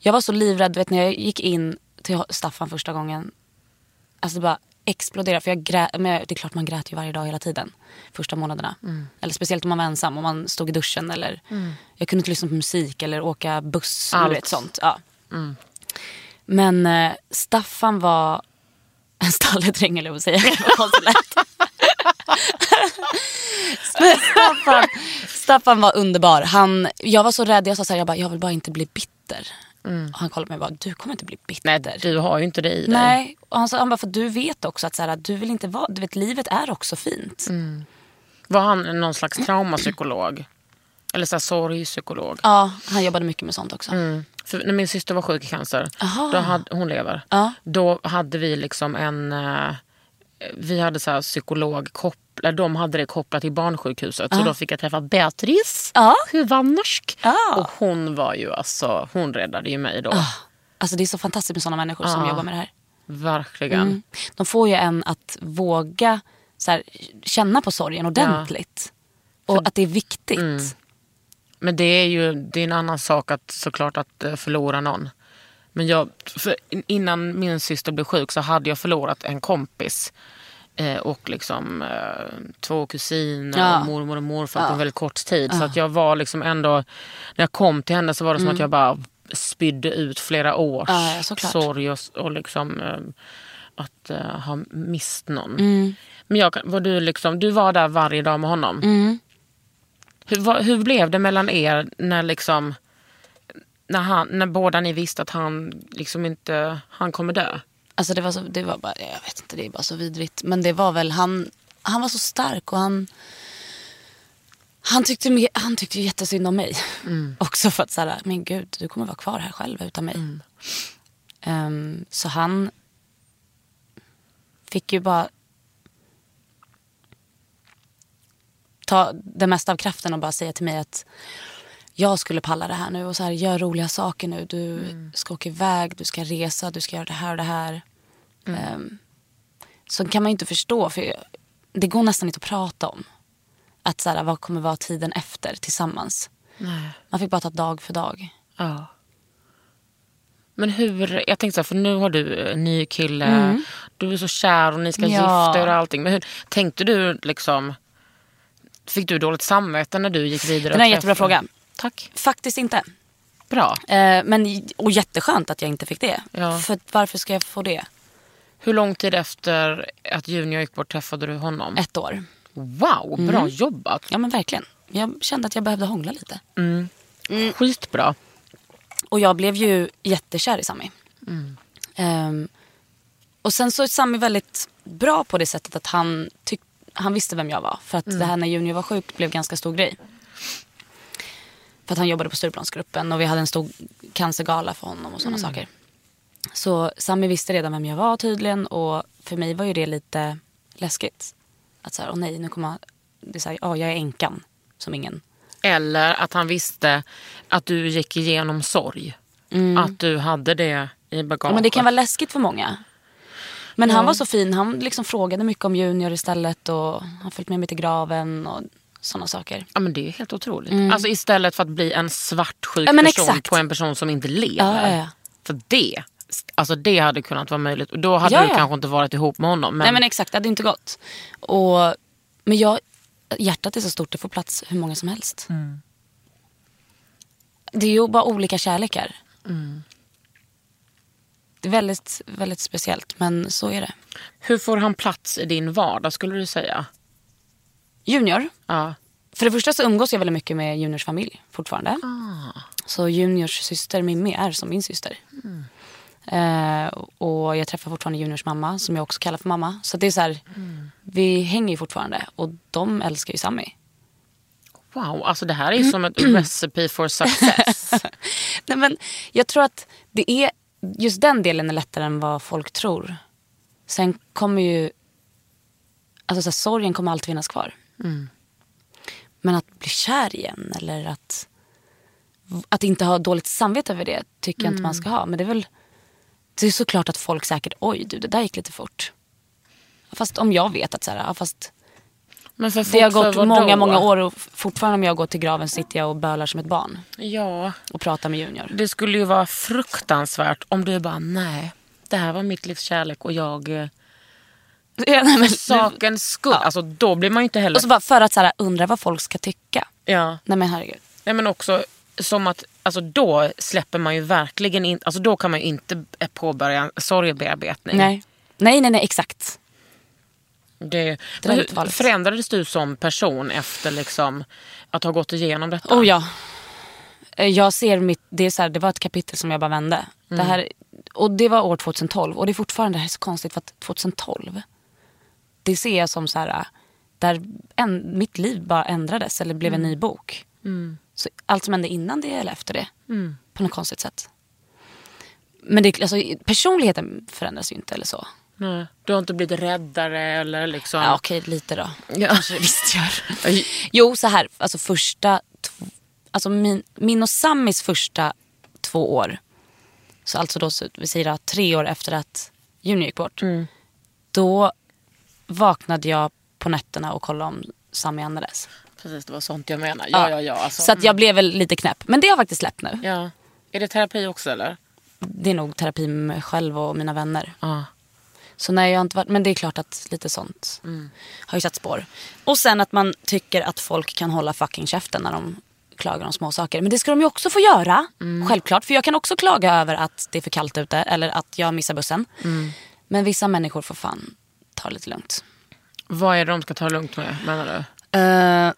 [SPEAKER 3] Jag var så livrädd, du vet när jag gick in till Staffan första gången. Alltså det bara exploderade. För jag grä- men jag, det är klart man grät ju varje dag hela tiden. Första månaderna.
[SPEAKER 2] Mm.
[SPEAKER 3] Eller speciellt om man var ensam, om man stod i duschen eller. Jag kunde inte lyssna på musik eller åka buss. du
[SPEAKER 2] Allt. Mm.
[SPEAKER 3] Vet, sånt. Ja. Men eh, Staffan var en stalledräng eller vad man säger. Det var så lätt. Men Staffan, Staffan var underbar. Han, jag var så rädd, jag sa så här, jag, bara, jag vill bara inte bli bitter. Och han kollade på mig och bara, du kommer inte bli bitter.
[SPEAKER 2] Mm. Nej, du har ju inte det i dig.
[SPEAKER 3] Nej, och han, sa, han bara, för du vet också att så här, att du vill inte vara, du vet livet är också fint.
[SPEAKER 2] Mm. Var han någon slags traumapsykolog? Eller så här sorgpsykolog?
[SPEAKER 3] Ja, han jobbade mycket med sånt också.
[SPEAKER 2] Mm. För när min syster var sjuk i cancer,
[SPEAKER 3] Aha.
[SPEAKER 2] då hade, hon lever,
[SPEAKER 3] Ja.
[SPEAKER 2] då hade vi liksom en... eh, Vi hade så här psykolog kopplat, de hade det kopplat till barnsjukhuset. Så då fick jag träffa Beatrice,
[SPEAKER 3] Ja.
[SPEAKER 2] huvannorsk.
[SPEAKER 3] Ja.
[SPEAKER 2] Och hon var ju alltså, hon räddade ju mig då.
[SPEAKER 3] Alltså det är så fantastiskt med såna människor som
[SPEAKER 2] Ja.
[SPEAKER 3] jobbar med det här.
[SPEAKER 2] Verkligen.
[SPEAKER 3] Mm. De får ju en att våga så här, känna på sorgen ordentligt. Och att det är viktigt.
[SPEAKER 2] Mm. Men det är ju det är en annan sak att såklart att eh, förlora någon. Men jag, för in- innan min syster blev sjuk så hade jag förlorat en kompis. Eh, och liksom eh, två kusiner
[SPEAKER 3] Ja.
[SPEAKER 2] och mormor och morfar på väldigt kort tid. Så att jag var liksom ändå, när jag kom till henne så var det som
[SPEAKER 3] Mm.
[SPEAKER 2] att jag bara spydde ut flera års
[SPEAKER 3] Ja, ja, såklart.
[SPEAKER 2] sorg och, och liksom eh, att eh, ha mist någon.
[SPEAKER 3] Mm.
[SPEAKER 2] Men jag, kan- var du, liksom, du var där varje dag med honom.
[SPEAKER 3] Mm.
[SPEAKER 2] Hur, vad, hur blev det mellan er när liksom när, han, när båda ni visste att han liksom inte han kommer dö?
[SPEAKER 3] Alltså det var, så, det var bara, jag vet inte, det är bara så vidrigt. Men det var väl, han, han var så stark och han, han tyckte, mer- han tyckte ju jättesynd om mig. Också för att så här, men gud, du kommer vara kvar här själv utan mig. Ehm, så han fick ju bara ta det mesta av kraften och bara säga till mig att jag skulle palla det här nu och så här, gör roliga saker nu. Du ska åka iväg, du ska resa, du ska göra det här och det här. Ehm, så kan man ju inte förstå, för det går nästan inte att prata om. Att så här, vad kommer vara tiden efter tillsammans? Man fick bara ta dag för dag.
[SPEAKER 2] Ja. Men hur, jag tänkte så här, för nu har du en ny kille, du är så kär och ni ska
[SPEAKER 3] Mm. Ja.
[SPEAKER 2] gifta er och allting. Men hur, tänkte du liksom, fick du dåligt samvete när du gick vidare?
[SPEAKER 3] Det där är en
[SPEAKER 2] och
[SPEAKER 3] jättebra
[SPEAKER 2] träffade-
[SPEAKER 3] fråga.
[SPEAKER 2] Tack.
[SPEAKER 3] Faktiskt inte.
[SPEAKER 2] Bra.
[SPEAKER 3] Eh, men, och jätteskönt att jag inte fick det.
[SPEAKER 2] Ja.
[SPEAKER 3] För att varför ska jag få det?
[SPEAKER 2] Hur lång tid efter att Junior gick bort träffade du honom?
[SPEAKER 3] Ett Mm. år.
[SPEAKER 2] Wow, bra jobbat.
[SPEAKER 3] Ja men verkligen. Jag kände att jag behövde hångla lite. Mm.
[SPEAKER 2] Skitbra.
[SPEAKER 3] Och jag blev ju jättekär i Sami. Ehm, och sen så är Sami väldigt bra på det sättet att han, tyck- han visste vem jag var. För att det här när Junior var sjuk blev ganska stor grej. För att han jobbade på Stureplansgruppen och vi hade en stor cancergala för honom och sådana saker. Så Sami visste redan vem jag var tydligen och för mig var ju det lite läskigt. Att såhär, åh nej, nu kommer jag... Det är såhär, ja jag är änkan som ingen...
[SPEAKER 2] Eller att han visste att du gick igenom sorg. Att du hade det i bagaget.
[SPEAKER 3] Mm. Ja, men det kan vara läskigt för många. Men han var så fin. Han liksom frågade mycket om Junior istället. Och han följt med mig till graven och sådana saker.
[SPEAKER 2] Ja, men det är helt otroligt. Alltså istället för att bli en svartsjuk
[SPEAKER 3] Mm. Ja, men
[SPEAKER 2] person
[SPEAKER 3] exakt.
[SPEAKER 2] på en person som inte lever.
[SPEAKER 3] Ja, ja, ja.
[SPEAKER 2] För det, alltså det hade kunnat vara möjligt. Och då hade
[SPEAKER 3] Ja,
[SPEAKER 2] du
[SPEAKER 3] ja.
[SPEAKER 2] kanske inte varit ihop med honom. Men,
[SPEAKER 3] Nej men exakt, det hade inte gått. Och, men jag, hjärtat är så stort, det får plats hur många som helst. Det är ju bara olika kärlekar. Det är väldigt, väldigt speciellt, men så är det.
[SPEAKER 2] Hur får han plats i din vardag skulle du säga?
[SPEAKER 3] Junior,
[SPEAKER 2] Ja.
[SPEAKER 3] För det första så umgås jag väldigt mycket med Juniors familj fortfarande. Så Juniors syster Mimmi är som min syster. Eh, och jag träffar fortfarande Juniors mamma som jag också kallar för mamma. Så det är så här, vi hänger ju fortfarande och de älskar ju Sammy.
[SPEAKER 2] Wow, alltså det här är ju som ett
[SPEAKER 3] Mm.
[SPEAKER 2] recipe for success.
[SPEAKER 3] Nej, men jag tror att det är, just den delen är lättare än vad folk tror. Sen kommer ju, alltså så här, sorgen kommer alltid finnas kvar. Men att bli kär igen eller att, att inte ha dåligt samvete över det tycker jag inte man ska ha. Men det är väl, det är såklart att folk säkert, oj du det där gick lite fort. Fast om jag vet att så här, ja, fast
[SPEAKER 2] Men för
[SPEAKER 3] det har
[SPEAKER 2] folk, för
[SPEAKER 3] gått
[SPEAKER 2] vadå?
[SPEAKER 3] många, många år och fortfarande om jag går till graven sitter jag och bölar som ett barn
[SPEAKER 2] Ja,
[SPEAKER 3] och pratar med Junior.
[SPEAKER 2] Det skulle ju vara fruktansvärt om du bara, nej, det här var mitt livs kärlek och jag... eh,
[SPEAKER 3] Ja, nej, men,
[SPEAKER 2] Sakens skull. Alltså då blir man ju inte heller...
[SPEAKER 3] Och så bara för att så här, undra vad folk ska tycka.
[SPEAKER 2] ja.
[SPEAKER 3] Nej men herregud.
[SPEAKER 2] Nej men också som att alltså då släpper man ju verkligen inte, alltså då kan man ju inte eh, påbörja en sorgebearbetning.
[SPEAKER 3] Nej. nej, nej, nej, exakt.
[SPEAKER 2] Det,
[SPEAKER 3] Det
[SPEAKER 2] men
[SPEAKER 3] var
[SPEAKER 2] hur-
[SPEAKER 3] inte farligt.
[SPEAKER 2] förändrades du som person efter liksom att ha gått igenom detta?
[SPEAKER 3] Oh ja. Eh, Jag ser mitt, det, är så här, det var ett kapitel som jag bara vände. Det här, och det var år 2012 och det är fortfarande det här är så konstigt för att 2012, det ser jag som så här, eh, där en, mitt liv bara ändrades eller blev en ny bok. Så allt som hände innan det eller efter det, på något konstigt sätt. Men det, alltså, personligheten förändras ju inte eller så.
[SPEAKER 2] Nej. Du har inte blivit räddare eller liksom...
[SPEAKER 3] Ja, okej, lite då.
[SPEAKER 2] Ja.
[SPEAKER 3] Kanske det visst gör. Jo, så här. Alltså första... tv- Alltså min, min och Samis första två år. Så alltså då, så, vi säger då, tre år efter att Junior gick
[SPEAKER 2] Mm.
[SPEAKER 3] bort. Då vaknade jag på nätterna och kollade om Sami andades.
[SPEAKER 2] Precis, det var sånt jag menar. Ja, ja, ja. Alltså.
[SPEAKER 3] Så att jag blev väl lite knäpp. Men det har jag faktiskt släppt nu.
[SPEAKER 2] ja. Är det terapi också eller?
[SPEAKER 3] Det är nog terapi med mig själv och mina vänner.
[SPEAKER 2] Ja.
[SPEAKER 3] Så nej, jag har inte varit, men det är klart att lite sånt har ju satt spår. Och sen att man tycker att folk kan hålla fucking käften när de klagar om små saker. Men det ska de ju också få göra, självklart. För jag kan också klaga över att det är för kallt ute eller att jag missar bussen. Men vissa människor får fan ta det lite lugnt.
[SPEAKER 2] Vad är det de ska ta det lugnt med menar du?
[SPEAKER 3] Eh,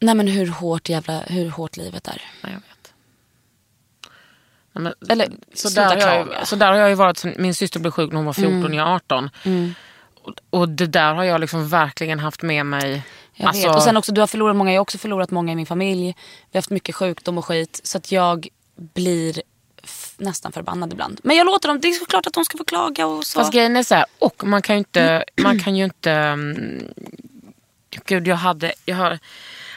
[SPEAKER 3] nej men hur hårt, jävla, hur hårt livet är.
[SPEAKER 2] Nej, jag vet. Nej, men,
[SPEAKER 3] Eller,
[SPEAKER 2] så,
[SPEAKER 3] sluta
[SPEAKER 2] där har jag, ju-
[SPEAKER 3] klaga. Mm.
[SPEAKER 2] så där har jag ju varit sen min syster blev sjuk när hon var 14 och jag 18. Och, och det där har jag liksom verkligen haft med mig. Alltså,
[SPEAKER 3] Jag vet. Och sen också, du har förlorat många. Jag har också förlorat många i min familj. Vi har haft mycket sjukdom och skit. Så att jag blir f- nästan förbannad ibland. Men jag låter dem, det är såklart att de ska få klaga och så.
[SPEAKER 2] Fast grejen är så här, och man kan ju inte... Man kan ju inte mm, gud, jag hade, jag har-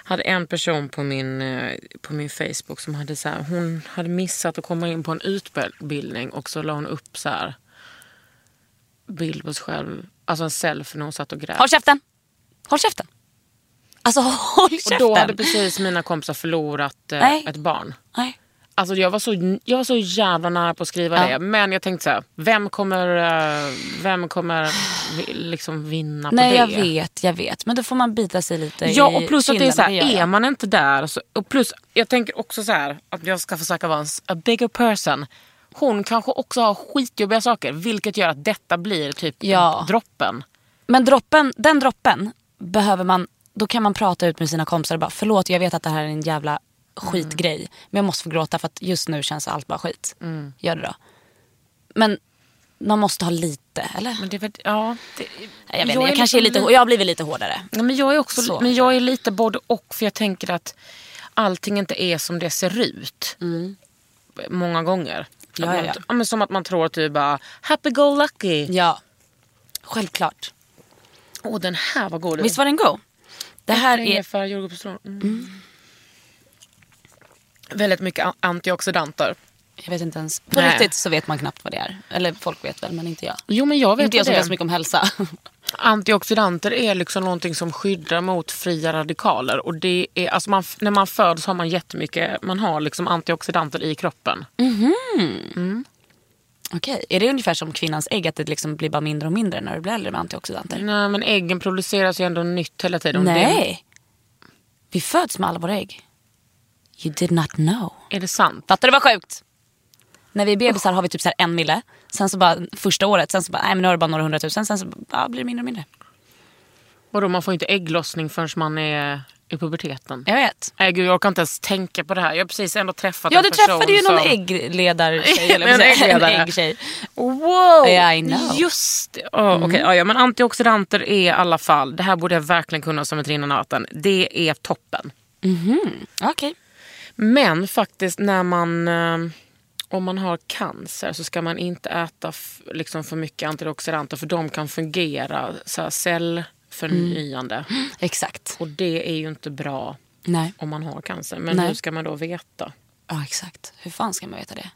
[SPEAKER 2] hade en person på min, eh, på min Facebook som hade så här, hon hade missat att komma in på en utbildning och så la hon upp så här bild på sig själv, alltså en selfie när hon satt och grät.
[SPEAKER 3] Håll käften! Håll käften! Alltså håll käften!
[SPEAKER 2] och då hade precis mina kompisar förlorat eh,
[SPEAKER 3] Nej.
[SPEAKER 2] ett barn.
[SPEAKER 3] Nej.
[SPEAKER 2] Alltså jag var, så, jag var så jävla nära på att skriva
[SPEAKER 3] Ja.
[SPEAKER 2] det. Men jag tänkte så här, vem kommer, eh, vem kommer vi- liksom vinna på
[SPEAKER 3] Nej
[SPEAKER 2] det?
[SPEAKER 3] jag vet, jag vet. Men då får man bita sig lite
[SPEAKER 2] Ja,
[SPEAKER 3] i
[SPEAKER 2] och plus att det är så här,
[SPEAKER 3] kinderna, gör
[SPEAKER 2] är
[SPEAKER 3] jag.
[SPEAKER 2] man inte där... Så, och plus, jag tänker också så här, att jag ska försöka vara en s- a bigger person. Hon kanske också har skitjobbiga saker, vilket gör att detta blir typ
[SPEAKER 3] Ja.
[SPEAKER 2] droppen.
[SPEAKER 3] Men droppen, den droppen behöver man, då kan man prata ut med sina kompisar och bara förlåt jag vet att det här är en jävla skitgrej
[SPEAKER 2] Mm.
[SPEAKER 3] men jag måste få gråta för att just nu känns allt bara skit. Gör det då. Men man måste ha lite eller?
[SPEAKER 2] Men det, är väl- ja, det,
[SPEAKER 3] jag vet
[SPEAKER 2] jag
[SPEAKER 3] inte,
[SPEAKER 2] är
[SPEAKER 3] jag kanske är
[SPEAKER 2] liksom
[SPEAKER 3] lite,
[SPEAKER 2] li-
[SPEAKER 3] jag har blivit lite hårdare.
[SPEAKER 2] Ja, men jag är också
[SPEAKER 3] Så.
[SPEAKER 2] men jag är lite både och för jag tänker att allting inte är som det ser ut. Många gånger. Att
[SPEAKER 3] Ja,
[SPEAKER 2] man,
[SPEAKER 3] ja, ja.
[SPEAKER 2] men som att man tror att du är bara happy go lucky.
[SPEAKER 3] Ja, självklart.
[SPEAKER 2] Åh den här var god.
[SPEAKER 3] Visst var den god? Det här är,
[SPEAKER 2] Ingefära, jordgubbscitron. Mm. Väldigt mycket a- antioxidanter.
[SPEAKER 3] jag vet inte ens, på
[SPEAKER 2] Nej.
[SPEAKER 3] riktigt så vet man knappt vad det är. Eller folk vet väl men inte jag.
[SPEAKER 2] Jo men jag vet
[SPEAKER 3] inte jag
[SPEAKER 2] vad det
[SPEAKER 3] som kan
[SPEAKER 2] är.
[SPEAKER 3] så mycket om hälsa.
[SPEAKER 2] Antioxidanter är liksom någonting som skyddar mot fria radikaler. Och det är, alltså man, f- när man föds har man jättemycket, man har liksom antioxidanter i kroppen.
[SPEAKER 3] Okej, är det ungefär som kvinnans ägg att det liksom blir bara mindre och mindre när du blir äldre med antioxidanter?
[SPEAKER 2] Nej, men äggen produceras ju ändå nytt hela tiden.
[SPEAKER 3] Nej. Vi föds med alla våra ägg. You did not know.
[SPEAKER 2] Det, är det sant?
[SPEAKER 3] Fattar du vad sjukt? När vi är bebisar har vi typ så här en mille. Sen så bara första året, sen så bara, nej men nu har du bara några hundratusen. Sen så ja, blir det mindre och mindre.
[SPEAKER 2] Vadå, man får ju inte ägglossning förrän man är i puberteten.
[SPEAKER 3] Jag vet.
[SPEAKER 2] Nej, gud, jag orkar inte ens tänka på det här. Jag har precis ändå träffat
[SPEAKER 3] Ja
[SPEAKER 2] en
[SPEAKER 3] du
[SPEAKER 2] person
[SPEAKER 3] träffade ju någon
[SPEAKER 2] som...
[SPEAKER 3] äggledartjej. eller vad
[SPEAKER 2] En
[SPEAKER 3] säger jag?
[SPEAKER 2] äggledare.
[SPEAKER 3] en äggtjej.
[SPEAKER 2] Wow!
[SPEAKER 3] Yeah, I know. Mm.
[SPEAKER 2] Just det. Ja, okej. Ja, ja, men antioxidanter är i alla fall, det här borde jag verkligen kunna som ett rinnande vatten. Det är toppen.
[SPEAKER 3] Okej.
[SPEAKER 2] Men faktiskt när man, eh, om man har cancer så ska man inte äta f- liksom för mycket antioxidanter för de kan fungera så här, cellförnyande.
[SPEAKER 3] Mm. Exakt.
[SPEAKER 2] Och det är ju inte bra
[SPEAKER 3] Nej.
[SPEAKER 2] om man har cancer. Men
[SPEAKER 3] Nej.
[SPEAKER 2] hur ska man då veta?
[SPEAKER 3] Ja exakt. Hur fan ska man veta det?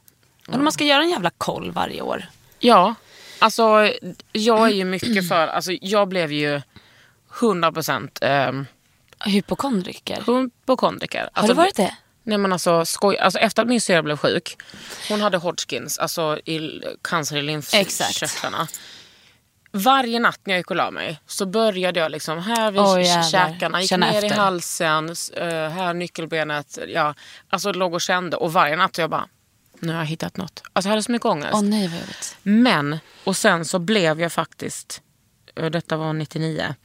[SPEAKER 3] Om man ska göra en jävla koll varje år.
[SPEAKER 2] Ja, alltså jag är ju mycket för, alltså jag blev ju 100% eh,
[SPEAKER 3] Hypokondriker.
[SPEAKER 2] hypokondriker.
[SPEAKER 3] Har
[SPEAKER 2] Alltså,
[SPEAKER 3] du varit det?
[SPEAKER 2] Nej men alltså skoj. Alltså, efter att min syrra blev sjuk. Hon hade Hodgkins, alltså i, cancer i
[SPEAKER 3] Exakt.
[SPEAKER 2] lymfkörtlarna. Varje natt när jag gick och la mig så började jag liksom här vid
[SPEAKER 3] Oj,
[SPEAKER 2] oh,
[SPEAKER 3] jävlar.
[SPEAKER 2] käkarna, gick
[SPEAKER 3] Känna
[SPEAKER 2] ner i
[SPEAKER 3] efter.
[SPEAKER 2] halsen, s- eh, här nyckelbenet. Ja, alltså låg och kände och varje natt så jag bara, nu har jag hittat något. Alltså jag hade så mycket ångest.
[SPEAKER 3] Åh nej vad jobbigt.
[SPEAKER 2] Men, och sen så blev jag faktiskt, eh, detta var 99,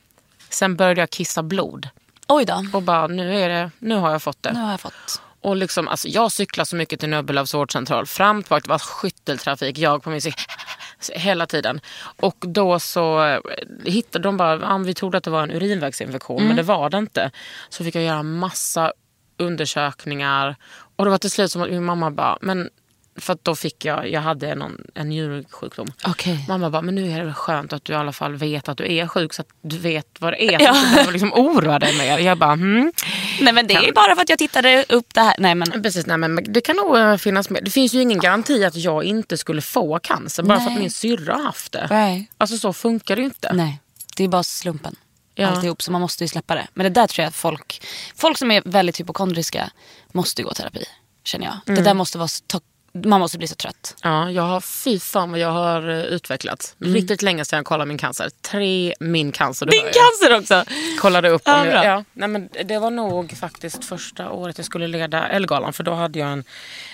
[SPEAKER 2] sen började jag kissa blod.
[SPEAKER 3] Oj då.
[SPEAKER 2] Och bara, nu, är det, nu har jag fått det.
[SPEAKER 3] Nu har jag fått.
[SPEAKER 2] Och liksom, alltså, jag cyklade så mycket till Nöbbelövs vårdcentral. Fram och tillbaka, det var skytteltrafik. Jag på min cykel. Hela tiden. Och då så eh, hittade de bara, ah, vi trodde att det var en urinvägsinfektion men det var det inte. Så fick jag göra massa undersökningar. Och det var till slut som att min mamma bara, men för att då fick jag, jag hade någon, en njursjukdom.
[SPEAKER 3] Okej.
[SPEAKER 2] Mamma bara, men nu är det väl skönt att du i alla fall vet att du är sjuk så att du vet vad det är. Så att du behöver liksom oroa dig mer. Jag bara, hmm.
[SPEAKER 3] Nej men det är bara för att jag tittade upp det här. Nej men
[SPEAKER 2] Precis, nej, men det kan nog eh, finnas med. Det finns ju ingen garanti att jag inte skulle få cancer bara för att
[SPEAKER 3] Nej.
[SPEAKER 2] min syrra har haft det.
[SPEAKER 3] nej.
[SPEAKER 2] Alltså så funkar det ju inte.
[SPEAKER 3] nej. Det är bara slumpen.
[SPEAKER 2] Ja.
[SPEAKER 3] Alltihop så man måste ju släppa det. Men det där tror jag att folk, folk som är väldigt hypokondriska måste ju gå i terapi. Känner jag. Det där måste vara, så to- man måste bli så trött.
[SPEAKER 2] Ja, jag har, fy fan vad jag har eh, utvecklats.
[SPEAKER 3] Mm.
[SPEAKER 2] Riktigt länge sedan jag kollade min cancer. Tre min cancer. Din
[SPEAKER 3] cancer också!
[SPEAKER 2] Kollade upp
[SPEAKER 3] Ja,
[SPEAKER 2] om jag,
[SPEAKER 3] bra.
[SPEAKER 2] ja, nej, men Det var nog faktiskt första året jag skulle leda Ellegalan för då hade jag en...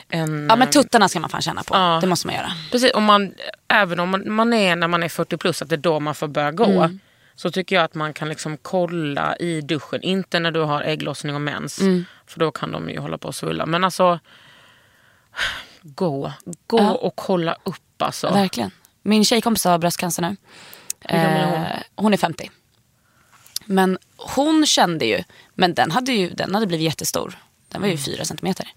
[SPEAKER 2] en
[SPEAKER 3] Ja men tuttarna ska man fan känna på.
[SPEAKER 2] Ja.
[SPEAKER 3] Det måste man göra.
[SPEAKER 2] Precis, och man, även om man, man är när man är 40 plus, att det är då man får börja gå.
[SPEAKER 3] Mm.
[SPEAKER 2] Så tycker jag att man kan liksom kolla i duschen. Inte när du har ägglossning och mens.
[SPEAKER 3] Mm.
[SPEAKER 2] För då kan de ju hålla på och svulla. Men alltså, gå. Gå
[SPEAKER 3] Ja.
[SPEAKER 2] och kolla upp alltså.
[SPEAKER 3] Verkligen. Min tjejkompis har bröstcancer nu.
[SPEAKER 2] Hur gammal är hon?
[SPEAKER 3] Eh, hon är 50. Men hon kände ju, men den hade ju den hade blivit jättestor. Den var ju
[SPEAKER 2] Mm.
[SPEAKER 3] fyra centimeter.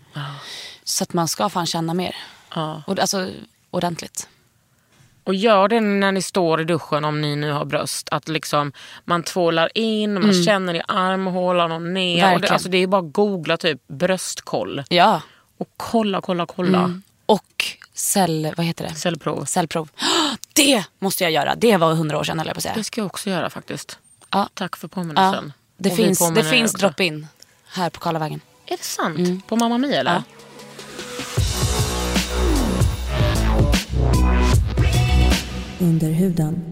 [SPEAKER 3] Så att man ska fan känna mer.
[SPEAKER 2] Ja.
[SPEAKER 3] Och, alltså ordentligt.
[SPEAKER 2] Och gör det när ni står i duschen om ni nu har bröst. Att liksom, man tvålar in, man känner i armhålan och ner. Och det,
[SPEAKER 3] Mm. Verkligen.
[SPEAKER 2] alltså, det är bara att googla typ bröstkoll.
[SPEAKER 3] Ja.
[SPEAKER 2] Och kolla, kolla, kolla.
[SPEAKER 3] Mm. Och cell, vad heter det?
[SPEAKER 2] Cellprov.
[SPEAKER 3] Cellprov. Det måste jag göra. Det var hundra år sedan höll jag på att säga.
[SPEAKER 2] Det ska jag också göra faktiskt.
[SPEAKER 3] Ja.
[SPEAKER 2] Tack för
[SPEAKER 3] Ja.
[SPEAKER 2] påminnelsen.
[SPEAKER 3] Det
[SPEAKER 2] Och vi
[SPEAKER 3] finns, det
[SPEAKER 2] påminner
[SPEAKER 3] finns
[SPEAKER 2] er också.
[SPEAKER 3] drop-in här på Karlavägen.
[SPEAKER 2] Är det sant? På Mamma Mia eller?
[SPEAKER 3] Ja.
[SPEAKER 1] Under huden.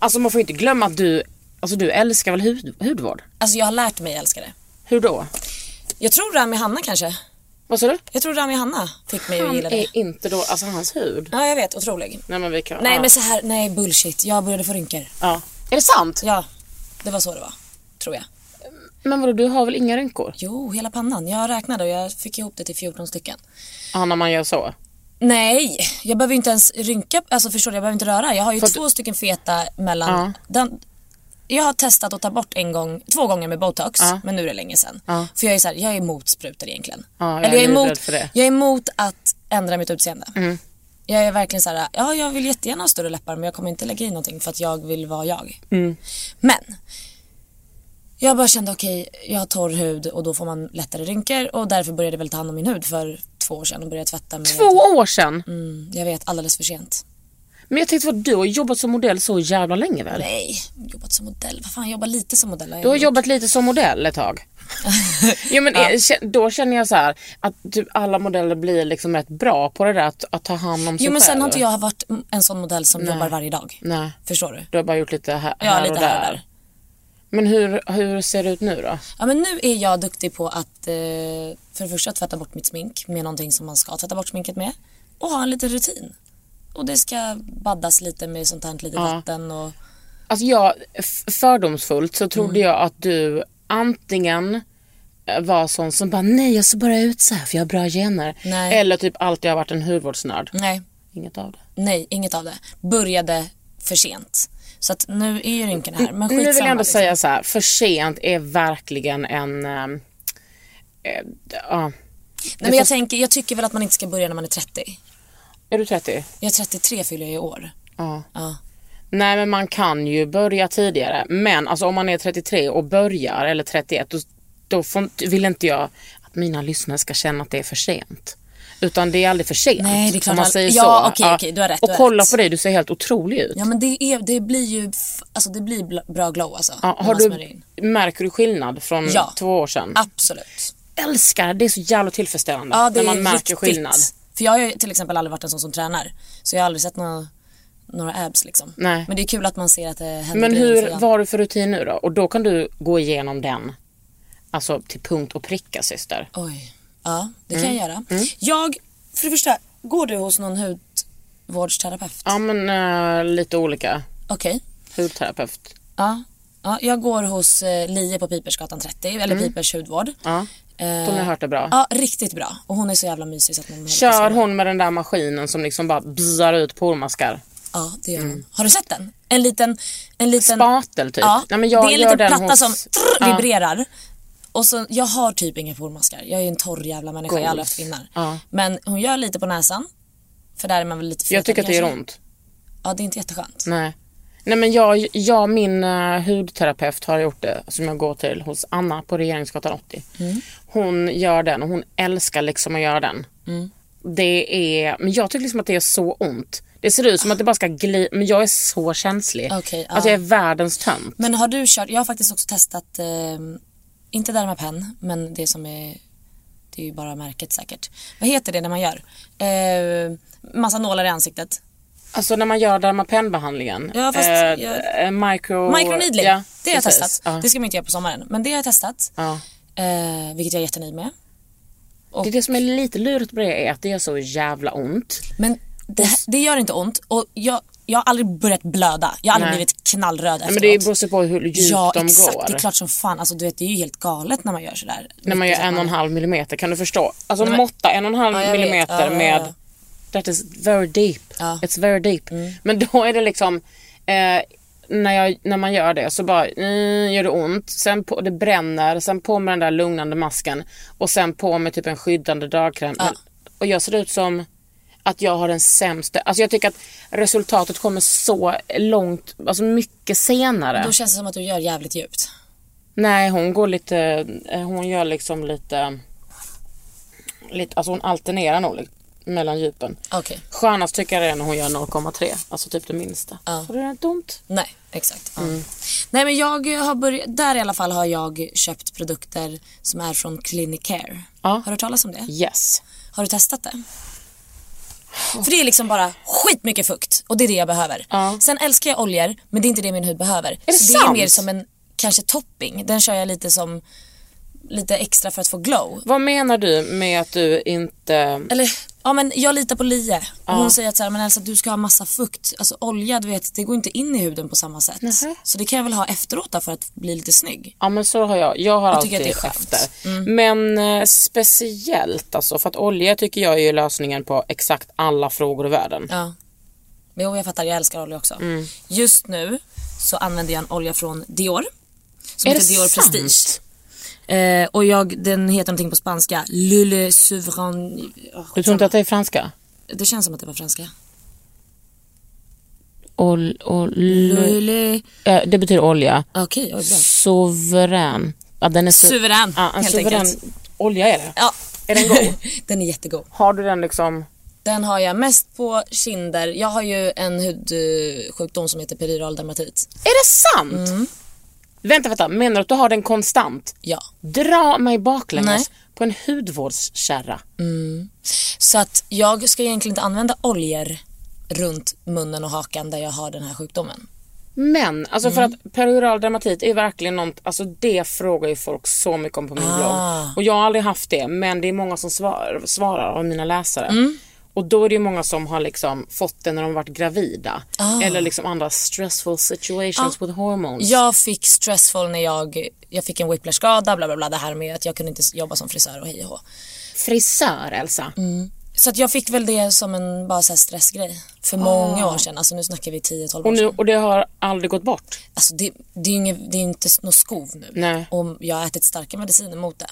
[SPEAKER 2] Alltså man får inte glömma att du, alltså, du älskar väl hud, hudvård?
[SPEAKER 3] Alltså jag har lärt mig älska det.
[SPEAKER 2] Hur då?
[SPEAKER 3] Jag tror Rami Hanna kanske.
[SPEAKER 2] Vad sa du?
[SPEAKER 3] Jag tror Rami Hanna fick mig
[SPEAKER 2] Han är inte då, alltså hans hud.
[SPEAKER 3] Ja jag vet, otrolig.
[SPEAKER 2] Nej men vi kan,
[SPEAKER 3] Nej
[SPEAKER 2] ja.
[SPEAKER 3] men så här, nej bullshit. Jag började få rynkor.
[SPEAKER 2] ja. Är det sant?
[SPEAKER 3] Ja, det var så det var. Tror jag.
[SPEAKER 2] Men vadå, du har väl inga rynkor?
[SPEAKER 3] Jo, Oh, hela pannan. Jag räknade och jag fick ihop det till 14 stycken.
[SPEAKER 2] Ja, när man gör så.
[SPEAKER 3] Mm. Nej, jag behöver ju inte ens rynka, alltså förstår du, jag behöver inte röra. Jag har ju
[SPEAKER 2] För att-
[SPEAKER 3] två stycken feta mellan. Den, jag har testat att ta bort en gång, två gånger med botox, men nu är det länge sedan. För jag är så här, jag är emot sprutor egentligen.
[SPEAKER 2] Ja, jag
[SPEAKER 3] Eller
[SPEAKER 2] är livrädd
[SPEAKER 3] emot,
[SPEAKER 2] för det. Mm.
[SPEAKER 3] jag är emot att ändra mitt utseende. Jag är verkligen så här, ja jag vill jättegärna ha större läppar men jag kommer inte lägga i någonting för att jag vill vara jag.
[SPEAKER 2] Mm.
[SPEAKER 3] Men jag bara kände okej, jag har torr hud och då får man lättare rynkor och därför började jag väl ta hand om min hud för två år sedan och började tvätta med
[SPEAKER 2] Två år sedan!
[SPEAKER 3] Mm, jag vet, alldeles för sent.
[SPEAKER 2] Men jag tänkte vad du har jobbat som modell så jävla länge väl?
[SPEAKER 3] Nej, jobbat som modell. Vad fan, jobba lite som modell. har jag
[SPEAKER 2] Du har
[SPEAKER 3] gjort.
[SPEAKER 2] jobbat lite som modell ett tag. Ja, men eh, kä- Då känner jag så här att typ alla modeller blir liksom rätt bra på det där att, att ta hand om sig
[SPEAKER 4] Jo men sen
[SPEAKER 2] själv.
[SPEAKER 4] har inte jag varit en sån modell som jobbar varje dag.
[SPEAKER 2] Nej,
[SPEAKER 4] Förstår du?
[SPEAKER 2] du har bara gjort lite här,
[SPEAKER 4] Ja,
[SPEAKER 2] här
[SPEAKER 4] lite
[SPEAKER 2] och där.
[SPEAKER 4] här och där.
[SPEAKER 2] Men hur, hur ser det ut nu då?
[SPEAKER 4] Ja men nu är jag duktig på att eh, för det första tvätta bort mitt smink med någonting som man ska tvätta bort sminket med och ha en liten rutin. Och det ska baddas lite med sånt här lite vatten och
[SPEAKER 2] Alltså jag, f- fördomsfullt så trodde
[SPEAKER 4] Mm.
[SPEAKER 2] jag att du antingen eh, var sån som bara nej jag ser bara ut så här för jag har bra gener.
[SPEAKER 4] Nej. Mm.
[SPEAKER 2] Eller typ alltid har varit en hudvårdsnörd.
[SPEAKER 4] nej,
[SPEAKER 2] Inget av det.
[SPEAKER 4] nej inget av det. Började för sent. Så att nu är ju rynkorna här men
[SPEAKER 2] Nu
[SPEAKER 4] skitsamma.
[SPEAKER 2] vill jag ändå
[SPEAKER 4] liksom.
[SPEAKER 2] säga så här, för sent är verkligen en... ehm, eh, ja.
[SPEAKER 4] Nej men jag tänker, jag tycker väl att man inte ska börja när man är 30.
[SPEAKER 2] Är du 30?
[SPEAKER 4] Jag är 33 fyller jag i år.
[SPEAKER 2] Ja.
[SPEAKER 4] Ja.
[SPEAKER 2] Nej men man kan ju börja tidigare men alltså om man är 33 och börjar eller 31 då, då får, inte- vill inte jag att mina lyssnare ska känna att det är för sent. Utan det är aldrig för sent.
[SPEAKER 4] Nej, det är klart
[SPEAKER 2] om man
[SPEAKER 4] all-
[SPEAKER 2] säger
[SPEAKER 4] Ja,
[SPEAKER 2] så.
[SPEAKER 4] okej, okej, du har rätt,
[SPEAKER 2] Och
[SPEAKER 4] du har
[SPEAKER 2] kolla
[SPEAKER 4] rätt.
[SPEAKER 2] på dig, du ser helt otrolig ut.
[SPEAKER 4] Ja men det, är, det blir ju, f- alltså det blir bl- bra glow alltså.
[SPEAKER 2] Ja,
[SPEAKER 4] när
[SPEAKER 2] har
[SPEAKER 4] man smörjer
[SPEAKER 2] du,
[SPEAKER 4] in.
[SPEAKER 2] märker du skillnad från
[SPEAKER 4] Ja.
[SPEAKER 2] två år sedan?
[SPEAKER 4] Absolut.
[SPEAKER 2] Älskar, det är så jävla tillfredsställande
[SPEAKER 4] Ja, det
[SPEAKER 2] när man
[SPEAKER 4] är
[SPEAKER 2] märker
[SPEAKER 4] riktigt.
[SPEAKER 2] skillnad.
[SPEAKER 4] För jag har ju till exempel aldrig varit en sån som tränar. Så jag har aldrig sett några, några abs liksom.
[SPEAKER 2] Nej.
[SPEAKER 4] Men det är kul att man ser att det händer
[SPEAKER 2] Men
[SPEAKER 4] grejer
[SPEAKER 2] hur,
[SPEAKER 4] för
[SPEAKER 2] vad
[SPEAKER 4] en.
[SPEAKER 2] har du för rutin nu då? Och då kan du gå igenom den. Alltså till punkt och pricka syster.
[SPEAKER 4] Oj. Ja, det kan
[SPEAKER 2] Mm.
[SPEAKER 4] jag göra. Jag, för det första, går du hos någon hudvårdsterapeut?
[SPEAKER 2] Ja men eh, lite olika.
[SPEAKER 4] Okej.
[SPEAKER 2] Hudterapeut.
[SPEAKER 4] Ja. ja. Jag går hos eh, Lie på Pipersgatan 30, eller Pipers hudvård.
[SPEAKER 2] Mm. Ja.
[SPEAKER 4] Eh,
[SPEAKER 2] Hon har hört det bra.
[SPEAKER 4] Ja, riktigt bra. Och hon är så jävla mysig så att man håller på att
[SPEAKER 2] Kör
[SPEAKER 4] skriva.
[SPEAKER 2] hon med den där maskinen som liksom bara bzzar ut pormaskar?
[SPEAKER 4] Ja, det gör
[SPEAKER 2] Mm.
[SPEAKER 4] hon. Har du sett den? En liten... En liten
[SPEAKER 2] Spatel typ?
[SPEAKER 4] Ja,
[SPEAKER 2] Nej, men jag
[SPEAKER 4] det är en
[SPEAKER 2] gör
[SPEAKER 4] liten
[SPEAKER 2] den
[SPEAKER 4] platta
[SPEAKER 2] hos-
[SPEAKER 4] som trrr,
[SPEAKER 2] Ja.
[SPEAKER 4] vibrerar. Och så, jag har typ inga pormaskar. Jag är ju en torr jävla människa. Jag har aldrig haft finnar.
[SPEAKER 2] Ja.
[SPEAKER 4] Men hon gör lite på näsan. För där är man väl lite fetare
[SPEAKER 2] Jag tycker att det gör
[SPEAKER 4] kanske.
[SPEAKER 2] ont.
[SPEAKER 4] Ja, det är inte jätteskönt.
[SPEAKER 2] Nej. Nej men jag, jag min eh, hudterapeut har gjort det som jag går till hos Anna på Regeringsgatan 80.
[SPEAKER 4] Mm.
[SPEAKER 2] Hon gör den och hon älskar liksom att göra den.
[SPEAKER 4] Mm.
[SPEAKER 2] Det är, men jag tycker liksom att det är så ont. Det ser ut som att det bara ska glida, men jag är så känslig.
[SPEAKER 4] Okej, ja.
[SPEAKER 2] Alltså jag är världens tönt.
[SPEAKER 4] Men har du kört... Jag har faktiskt också testat, eh, inte Dermapen, men det som är... Det är ju bara märket säkert. Vad heter det när man gör? Eh, massa nålar i ansiktet.
[SPEAKER 2] Alltså när man gör dermapenbehandlingen.
[SPEAKER 4] Ja, fast jag-
[SPEAKER 2] eh, micro...
[SPEAKER 4] Microneedling,
[SPEAKER 2] Ja,
[SPEAKER 4] det har jag
[SPEAKER 2] precis.
[SPEAKER 4] testat.
[SPEAKER 2] Ja.
[SPEAKER 4] Det ska man inte göra på sommaren, men det har jag testat.
[SPEAKER 2] Ja.
[SPEAKER 4] Eh, vilket jag är jättenöjd med.
[SPEAKER 2] Det, är det som är lite lurigt med det är att det är så jävla ont.
[SPEAKER 4] Men det, här- det gör inte ont och jag, jag har aldrig börjat blöda. Jag har aldrig
[SPEAKER 2] Nej.
[SPEAKER 4] blivit knallröd
[SPEAKER 2] Nej,
[SPEAKER 4] efteråt.
[SPEAKER 2] men det beror sig på hur djupt
[SPEAKER 4] Ja
[SPEAKER 2] de
[SPEAKER 4] exakt,
[SPEAKER 2] går.
[SPEAKER 4] det är klart som fan. Alltså, du vet, det är ju helt galet när man gör sådär.
[SPEAKER 2] När man gör
[SPEAKER 4] Mycket
[SPEAKER 2] en och en
[SPEAKER 4] man-
[SPEAKER 2] halv millimeter, kan du förstå? Alltså måtta en och en halv
[SPEAKER 4] Ja, jag vet.
[SPEAKER 2] millimeter
[SPEAKER 4] Ja, ja,
[SPEAKER 2] med...
[SPEAKER 4] ja.
[SPEAKER 2] That is very deep.
[SPEAKER 4] Ja. Mm.
[SPEAKER 2] It's very deep. Men då är det liksom... Eh, när, jag, när man gör det så bara mm, gör det ont, sen på, det bränner, sen på med den där lugnande masken och sen på med typ en skyddande dagkräm. Men, och jag ser ut som att jag har den sämsta... Alltså jag tycker att resultatet kommer så långt, alltså mycket senare.
[SPEAKER 4] Då känns det som att du gör jävligt djupt.
[SPEAKER 2] Nej, hon går lite, eh, hon gör liksom lite, lite alltså hon alternerar nog lite mellan djupen.
[SPEAKER 4] Okej,
[SPEAKER 2] Skönast tycker jag det är när hon gör 0,3, alltså typ det minsta.
[SPEAKER 4] Ja.
[SPEAKER 2] Och det är inte ont.
[SPEAKER 4] nej exakt. Ja.
[SPEAKER 2] Mm.
[SPEAKER 4] Nej men jag har börjat, där i alla fall har jag köpt produkter som är från Clinicare.
[SPEAKER 2] Ja.
[SPEAKER 4] Har du hört talas om det?
[SPEAKER 2] Yes.
[SPEAKER 4] Har du testat det? För det är liksom bara skitmycket fukt och det är det jag behöver.
[SPEAKER 2] Ja.
[SPEAKER 4] Sen älskar jag oljor men det är inte det min hud behöver.
[SPEAKER 2] det
[SPEAKER 4] så det är
[SPEAKER 2] sant?
[SPEAKER 4] mer som en kanske topping. Den kör jag lite som lite extra för att få glow.
[SPEAKER 2] Vad menar du med att du inte...
[SPEAKER 4] Eller ja men jag litar på Lie och hon säger att så här, men Elsa du ska ha massa fukt. Alltså olja du vet det går inte in i huden på samma sätt. Så det kan jag väl ha efteråt då för att bli lite snygg.
[SPEAKER 2] Ja men så har jag, jag har
[SPEAKER 4] Jag
[SPEAKER 2] alltid
[SPEAKER 4] tycker att det är skönt. Mm.
[SPEAKER 2] efter. Men eh, speciellt alltså, för att olja tycker jag är ju lösningen på exakt alla frågor i världen.
[SPEAKER 4] Ja. Men jo, jag fattar, jag älskar olja också.
[SPEAKER 2] Mm.
[SPEAKER 4] Just nu så använder jag en olja från Dior. Som
[SPEAKER 2] Är
[SPEAKER 4] heter
[SPEAKER 2] det
[SPEAKER 4] Dior
[SPEAKER 2] sant?
[SPEAKER 4] Prestige. Eh, och jag, den heter någonting på spanska. Lule Souverain... Oh,
[SPEAKER 2] Du tror inte att det är franska?
[SPEAKER 4] Det känns som att det var franska.
[SPEAKER 2] Ol, ol, l,
[SPEAKER 4] Lule...
[SPEAKER 2] eh, det betyder olja.
[SPEAKER 4] Okej, oj, bra.
[SPEAKER 2] Suverän. Ja, den är su-
[SPEAKER 4] Suverän,
[SPEAKER 2] ja, en
[SPEAKER 4] helt
[SPEAKER 2] suverän
[SPEAKER 4] enkelt.
[SPEAKER 2] olja är det.
[SPEAKER 4] Ja.
[SPEAKER 2] Är den god?
[SPEAKER 4] den är jättegod.
[SPEAKER 2] Har du den liksom...
[SPEAKER 4] Den har jag mest på kinder. Jag har ju en hudsjukdom som heter periral dermatit.
[SPEAKER 2] Är det sant? Vänta, vänta. Menar du att du har den konstant?
[SPEAKER 4] Ja.
[SPEAKER 2] Dra mig baklänges
[SPEAKER 4] Nej.
[SPEAKER 2] på en hudvårdskärra.
[SPEAKER 4] Så att jag ska egentligen inte använda oljor runt munnen och hakan där jag har den här sjukdomen.
[SPEAKER 2] Men, alltså för
[SPEAKER 4] Mm.
[SPEAKER 2] att perioral dermatit är verkligen något, alltså det frågar ju folk så mycket om på min
[SPEAKER 4] Ah.
[SPEAKER 2] blogg. Och jag har aldrig haft det, men det är många som svar, svarar av mina läsare.
[SPEAKER 4] Mm.
[SPEAKER 2] Och då är det ju många som har liksom fått det när de varit gravida.
[SPEAKER 4] Ah.
[SPEAKER 2] Eller liksom andra stressful situations with hormones.
[SPEAKER 4] Jag fick stressful när jag, jag fick en whiplash-skada, bla bla bla, det här med att jag kunde inte jobba som frisör och hej och hå.
[SPEAKER 2] Frisör, Elsa.
[SPEAKER 4] Mm. Så att jag fick väl det som en bara så här stressgrej för många år sedan. Alltså nu snackar vi 10-12
[SPEAKER 2] Ah. Och,
[SPEAKER 4] år
[SPEAKER 2] nu,
[SPEAKER 4] sedan.
[SPEAKER 2] och det har aldrig gått bort.
[SPEAKER 4] Alltså det, det, är ju inget, det är inte något skov nu.
[SPEAKER 2] Nej.
[SPEAKER 4] Och jag har ätit starka mediciner mot det.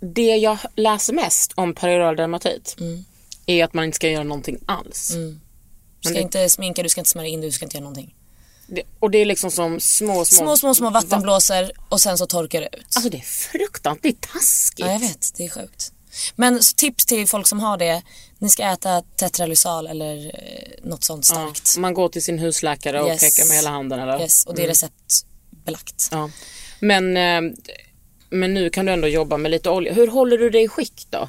[SPEAKER 2] Det jag läser mest om perioral dermatit
[SPEAKER 4] Mm.
[SPEAKER 2] är att man inte ska göra någonting alls.
[SPEAKER 4] Du ska inte sminka, du ska inte smörja in dig, du ska inte göra någonting.
[SPEAKER 2] Det, och det är liksom som små, små...
[SPEAKER 4] Små, små, små vattenblåsor och sen så torkar det ut.
[SPEAKER 2] Alltså det är fruktansvärt, det är taskigt.
[SPEAKER 4] Ja, jag vet. Det är sjukt. Men så tips till folk som har det. Ni ska äta tetralysal eller eh, något sånt
[SPEAKER 2] Ja,
[SPEAKER 4] starkt.
[SPEAKER 2] man går till sin husläkare och
[SPEAKER 4] Yes.
[SPEAKER 2] pekar med hela handen eller?
[SPEAKER 4] Yes, och det är receptbelagt.
[SPEAKER 2] Ja. Men, eh, men nu kan du ändå jobba med lite olja. Hur håller du dig i skick då?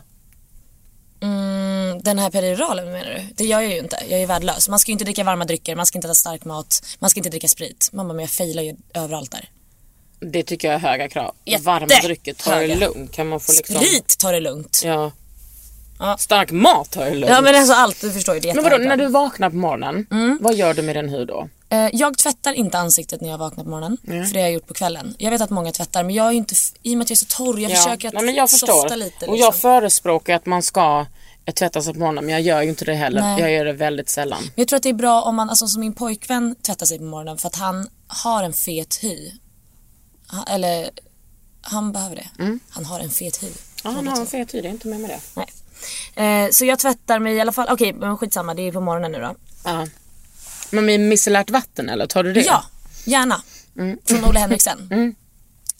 [SPEAKER 4] Mm, den här perioralen menar du? Det gör jag ju inte. Jag är ju värdelös. Man ska ju inte dricka varma drycker, man ska inte äta stark mat, man ska inte dricka sprit. Mamma, men jag failar ju överallt där.
[SPEAKER 2] Det tycker jag är höga krav.
[SPEAKER 4] Jätte-
[SPEAKER 2] Varma drycker, ta det
[SPEAKER 4] höga.
[SPEAKER 2] lugnt. Kan man få liksom...
[SPEAKER 4] Sprit, ta det lugnt. Ja,
[SPEAKER 2] Ja.
[SPEAKER 4] Ja.
[SPEAKER 2] Stark mat tar det lugnt.
[SPEAKER 4] men Mm. alltså allt, du förstår ju. Det är
[SPEAKER 2] men vadå,
[SPEAKER 4] jättehögt.
[SPEAKER 2] när du vaknar på morgonen, vad gör du med din hud då?
[SPEAKER 4] Eh, Jag tvättar inte ansiktet när jag vaknar på morgonen, för det har jag gjort på kvällen. Jag vet att många tvättar, men jag är ju inte, f- i och med att jag är så torr, jag
[SPEAKER 2] Ja.
[SPEAKER 4] försöker att
[SPEAKER 2] Nej, men jag
[SPEAKER 4] softa
[SPEAKER 2] förstår.
[SPEAKER 4] lite. Liksom.
[SPEAKER 2] Och jag förespråkar att man ska eh, tvätta sig på morgonen, men jag gör ju inte det heller.
[SPEAKER 4] Nej.
[SPEAKER 2] Jag gör det väldigt sällan.
[SPEAKER 4] Men jag tror att det är bra om man, alltså som min pojkvän tvättar sig på morgonen för att han har en fet hy. Ha- Eller, han behöver det. Han har en fet hy.
[SPEAKER 2] Ja, han har en fet hy, det är inte med med det.
[SPEAKER 4] Mm. Nej. Eh, så jag tvättar mig i alla fall, okej men skitsamma det är på morgonen nu då.
[SPEAKER 2] Ja. Men med micellärt vatten eller? Tar du det?
[SPEAKER 4] Ja, gärna. Från Olle Henriksen.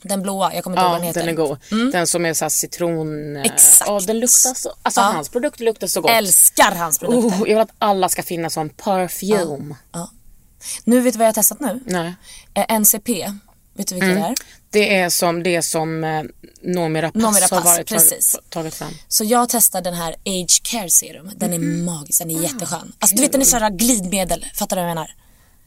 [SPEAKER 4] Den blåa, jag kommer inte ihåg
[SPEAKER 2] Ja,
[SPEAKER 4] vad Mm. den heter.
[SPEAKER 2] den är god. Den som är såhär citron... eh,
[SPEAKER 4] Exakt.
[SPEAKER 2] Ja, den luktar så... Alltså
[SPEAKER 4] Ja.
[SPEAKER 2] hans produkter luktar så gott.
[SPEAKER 4] Älskar hans produkter.
[SPEAKER 2] oh, jag vill att alla ska finna sån parfym.
[SPEAKER 4] Ja. Nu vet du vad jag har testat nu?
[SPEAKER 2] Nej.
[SPEAKER 4] Eh, NCP, vet du vilka det är?
[SPEAKER 2] Det är som det som eh, Noomi
[SPEAKER 4] Noomi
[SPEAKER 2] Rapace har
[SPEAKER 4] Rapace,
[SPEAKER 2] varit,
[SPEAKER 4] precis.
[SPEAKER 2] tagit, tagit fram.
[SPEAKER 4] Så jag testar den här Age Care Serum. Den är magisk, den är jätteskön. Alltså du vet den är såhär glidmedel, fattar du vad jag menar?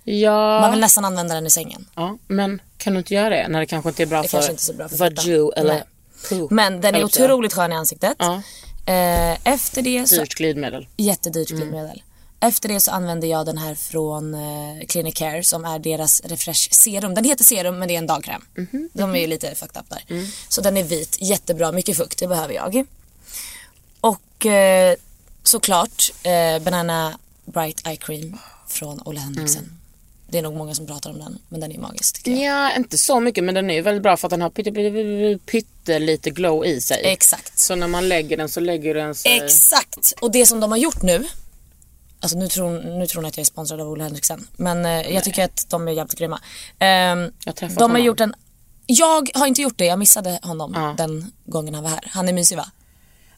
[SPEAKER 2] Ja.
[SPEAKER 4] Man vill nästan använda den i sängen.
[SPEAKER 2] Ja, men kan du inte göra det när det kanske inte är bra
[SPEAKER 4] Det
[SPEAKER 2] för
[SPEAKER 4] kanske inte är så bra för
[SPEAKER 2] vaju
[SPEAKER 4] fötterna.
[SPEAKER 2] eller
[SPEAKER 4] Nej.
[SPEAKER 2] poo?
[SPEAKER 4] Men den är
[SPEAKER 2] Eller så.
[SPEAKER 4] otroligt skön i ansiktet.
[SPEAKER 2] Ja.
[SPEAKER 4] Eh, efter det så,
[SPEAKER 2] Dyrt Mm. glidmedel.
[SPEAKER 4] jättedyrt glidmedel. Efter det så använder jag den här från eh, Clinic Care som är deras refresh serum. Den heter serum men det är en dagkräm.
[SPEAKER 2] Mhm,
[SPEAKER 4] De är ju lite fucked up där.
[SPEAKER 2] Mm.
[SPEAKER 4] Så den är vit, jättebra, mycket fukt, det behöver jag. Och eh, såklart eh, Banana Bright Eye Cream från Olle
[SPEAKER 2] Mm.
[SPEAKER 4] Henriksen. Det är nog många som pratar om den men den är magisk tycker jag.
[SPEAKER 2] Ja, inte så mycket men den är ju väldigt bra för att den har pytte, pytte, pytte, pytte lite glow i sig.
[SPEAKER 4] Exakt.
[SPEAKER 2] Så när man lägger den så lägger den sig...
[SPEAKER 4] Exakt! Och det som de har gjort nu, alltså nu tror, nu tror ni att jag är sponsrad av Olle Henriksen, men eh, jag tycker att de är jävligt grymma. Ehm,
[SPEAKER 2] Jag har träffat
[SPEAKER 4] de har
[SPEAKER 2] honom.
[SPEAKER 4] gjort en, jag har inte gjort det, jag missade honom
[SPEAKER 2] Ja.
[SPEAKER 4] den gången han var här. Han är mysig va?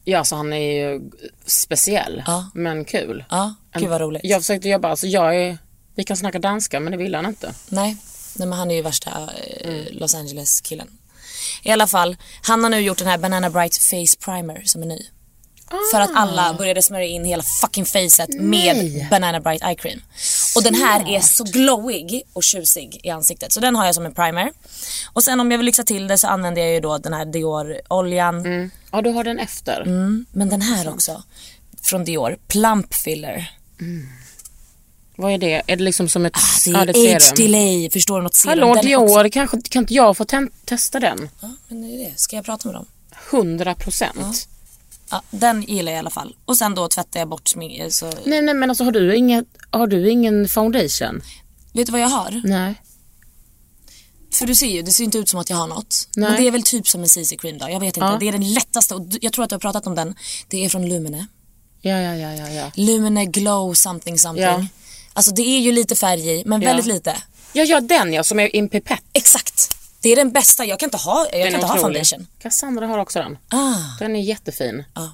[SPEAKER 2] Ja, så han är ju speciell
[SPEAKER 4] Ja.
[SPEAKER 2] men kul.
[SPEAKER 4] Ja,
[SPEAKER 2] En-
[SPEAKER 4] gud vad roligt.
[SPEAKER 2] Jag försökte jobba, alltså jag är... Vi kan snacka danska men det vill han inte.
[SPEAKER 4] Nej, nej men han är ju värsta eh,
[SPEAKER 2] Mm.
[SPEAKER 4] Los Angeles killen. I alla fall, han har nu gjort den här Banana Bright Face Primer som är ny.
[SPEAKER 2] Ah.
[SPEAKER 4] För att alla började smörja in hela fucking facet med Banana Bright Eye Cream. Och den här är så glowig och tjusig i ansiktet. Så den har jag som en primer. Och sen om jag vill lyxa till det så använder jag ju då den här Dior-oljan.
[SPEAKER 2] Mm. Ja, du har den efter.
[SPEAKER 4] Men den här också, från Dior, Plump Filler.
[SPEAKER 2] Vad är det? Är det liksom som ett...
[SPEAKER 4] Ah, Det
[SPEAKER 2] ja,
[SPEAKER 4] är
[SPEAKER 2] det är ett
[SPEAKER 4] Age
[SPEAKER 2] serum.
[SPEAKER 4] Delay, förstår du? Något serum.
[SPEAKER 2] Hallå
[SPEAKER 4] Den är också-
[SPEAKER 2] Dior, kanske, kan inte jag få ten- testa den?
[SPEAKER 4] Ja, men det är det. Ska jag prata med dem?
[SPEAKER 2] 100 procent.
[SPEAKER 4] Ja, den gillar jag i alla fall. Och sen då tvättar jag bort smink. Så...
[SPEAKER 2] Nej, nej men alltså har du, inga, har du ingen foundation?
[SPEAKER 4] Vet du vad jag har?
[SPEAKER 2] Nej.
[SPEAKER 4] För du ser ju, det ser ju inte ut som att jag har något.
[SPEAKER 2] Nej.
[SPEAKER 4] Men det är väl typ som en CC-cream då, jag vet inte. Det är den lättaste och du- jag tror att du har pratat om den. Det är från Lumene.
[SPEAKER 2] Ja, ja, ja, ja, ja.
[SPEAKER 4] Lumene Glow something something.
[SPEAKER 2] Ja.
[SPEAKER 4] Alltså det är ju lite färg i, men
[SPEAKER 2] Ja.
[SPEAKER 4] väldigt lite.
[SPEAKER 2] Ja, ja, den ja, som är i en pipett.
[SPEAKER 4] Exakt. Det är den bästa, jag kan inte ha, jag
[SPEAKER 2] Den
[SPEAKER 4] kan
[SPEAKER 2] är
[SPEAKER 4] inte ha
[SPEAKER 2] otrolig.
[SPEAKER 4] foundation.
[SPEAKER 2] Cassandra har också den.
[SPEAKER 4] Ah,
[SPEAKER 2] Den är jättefin.
[SPEAKER 4] ja.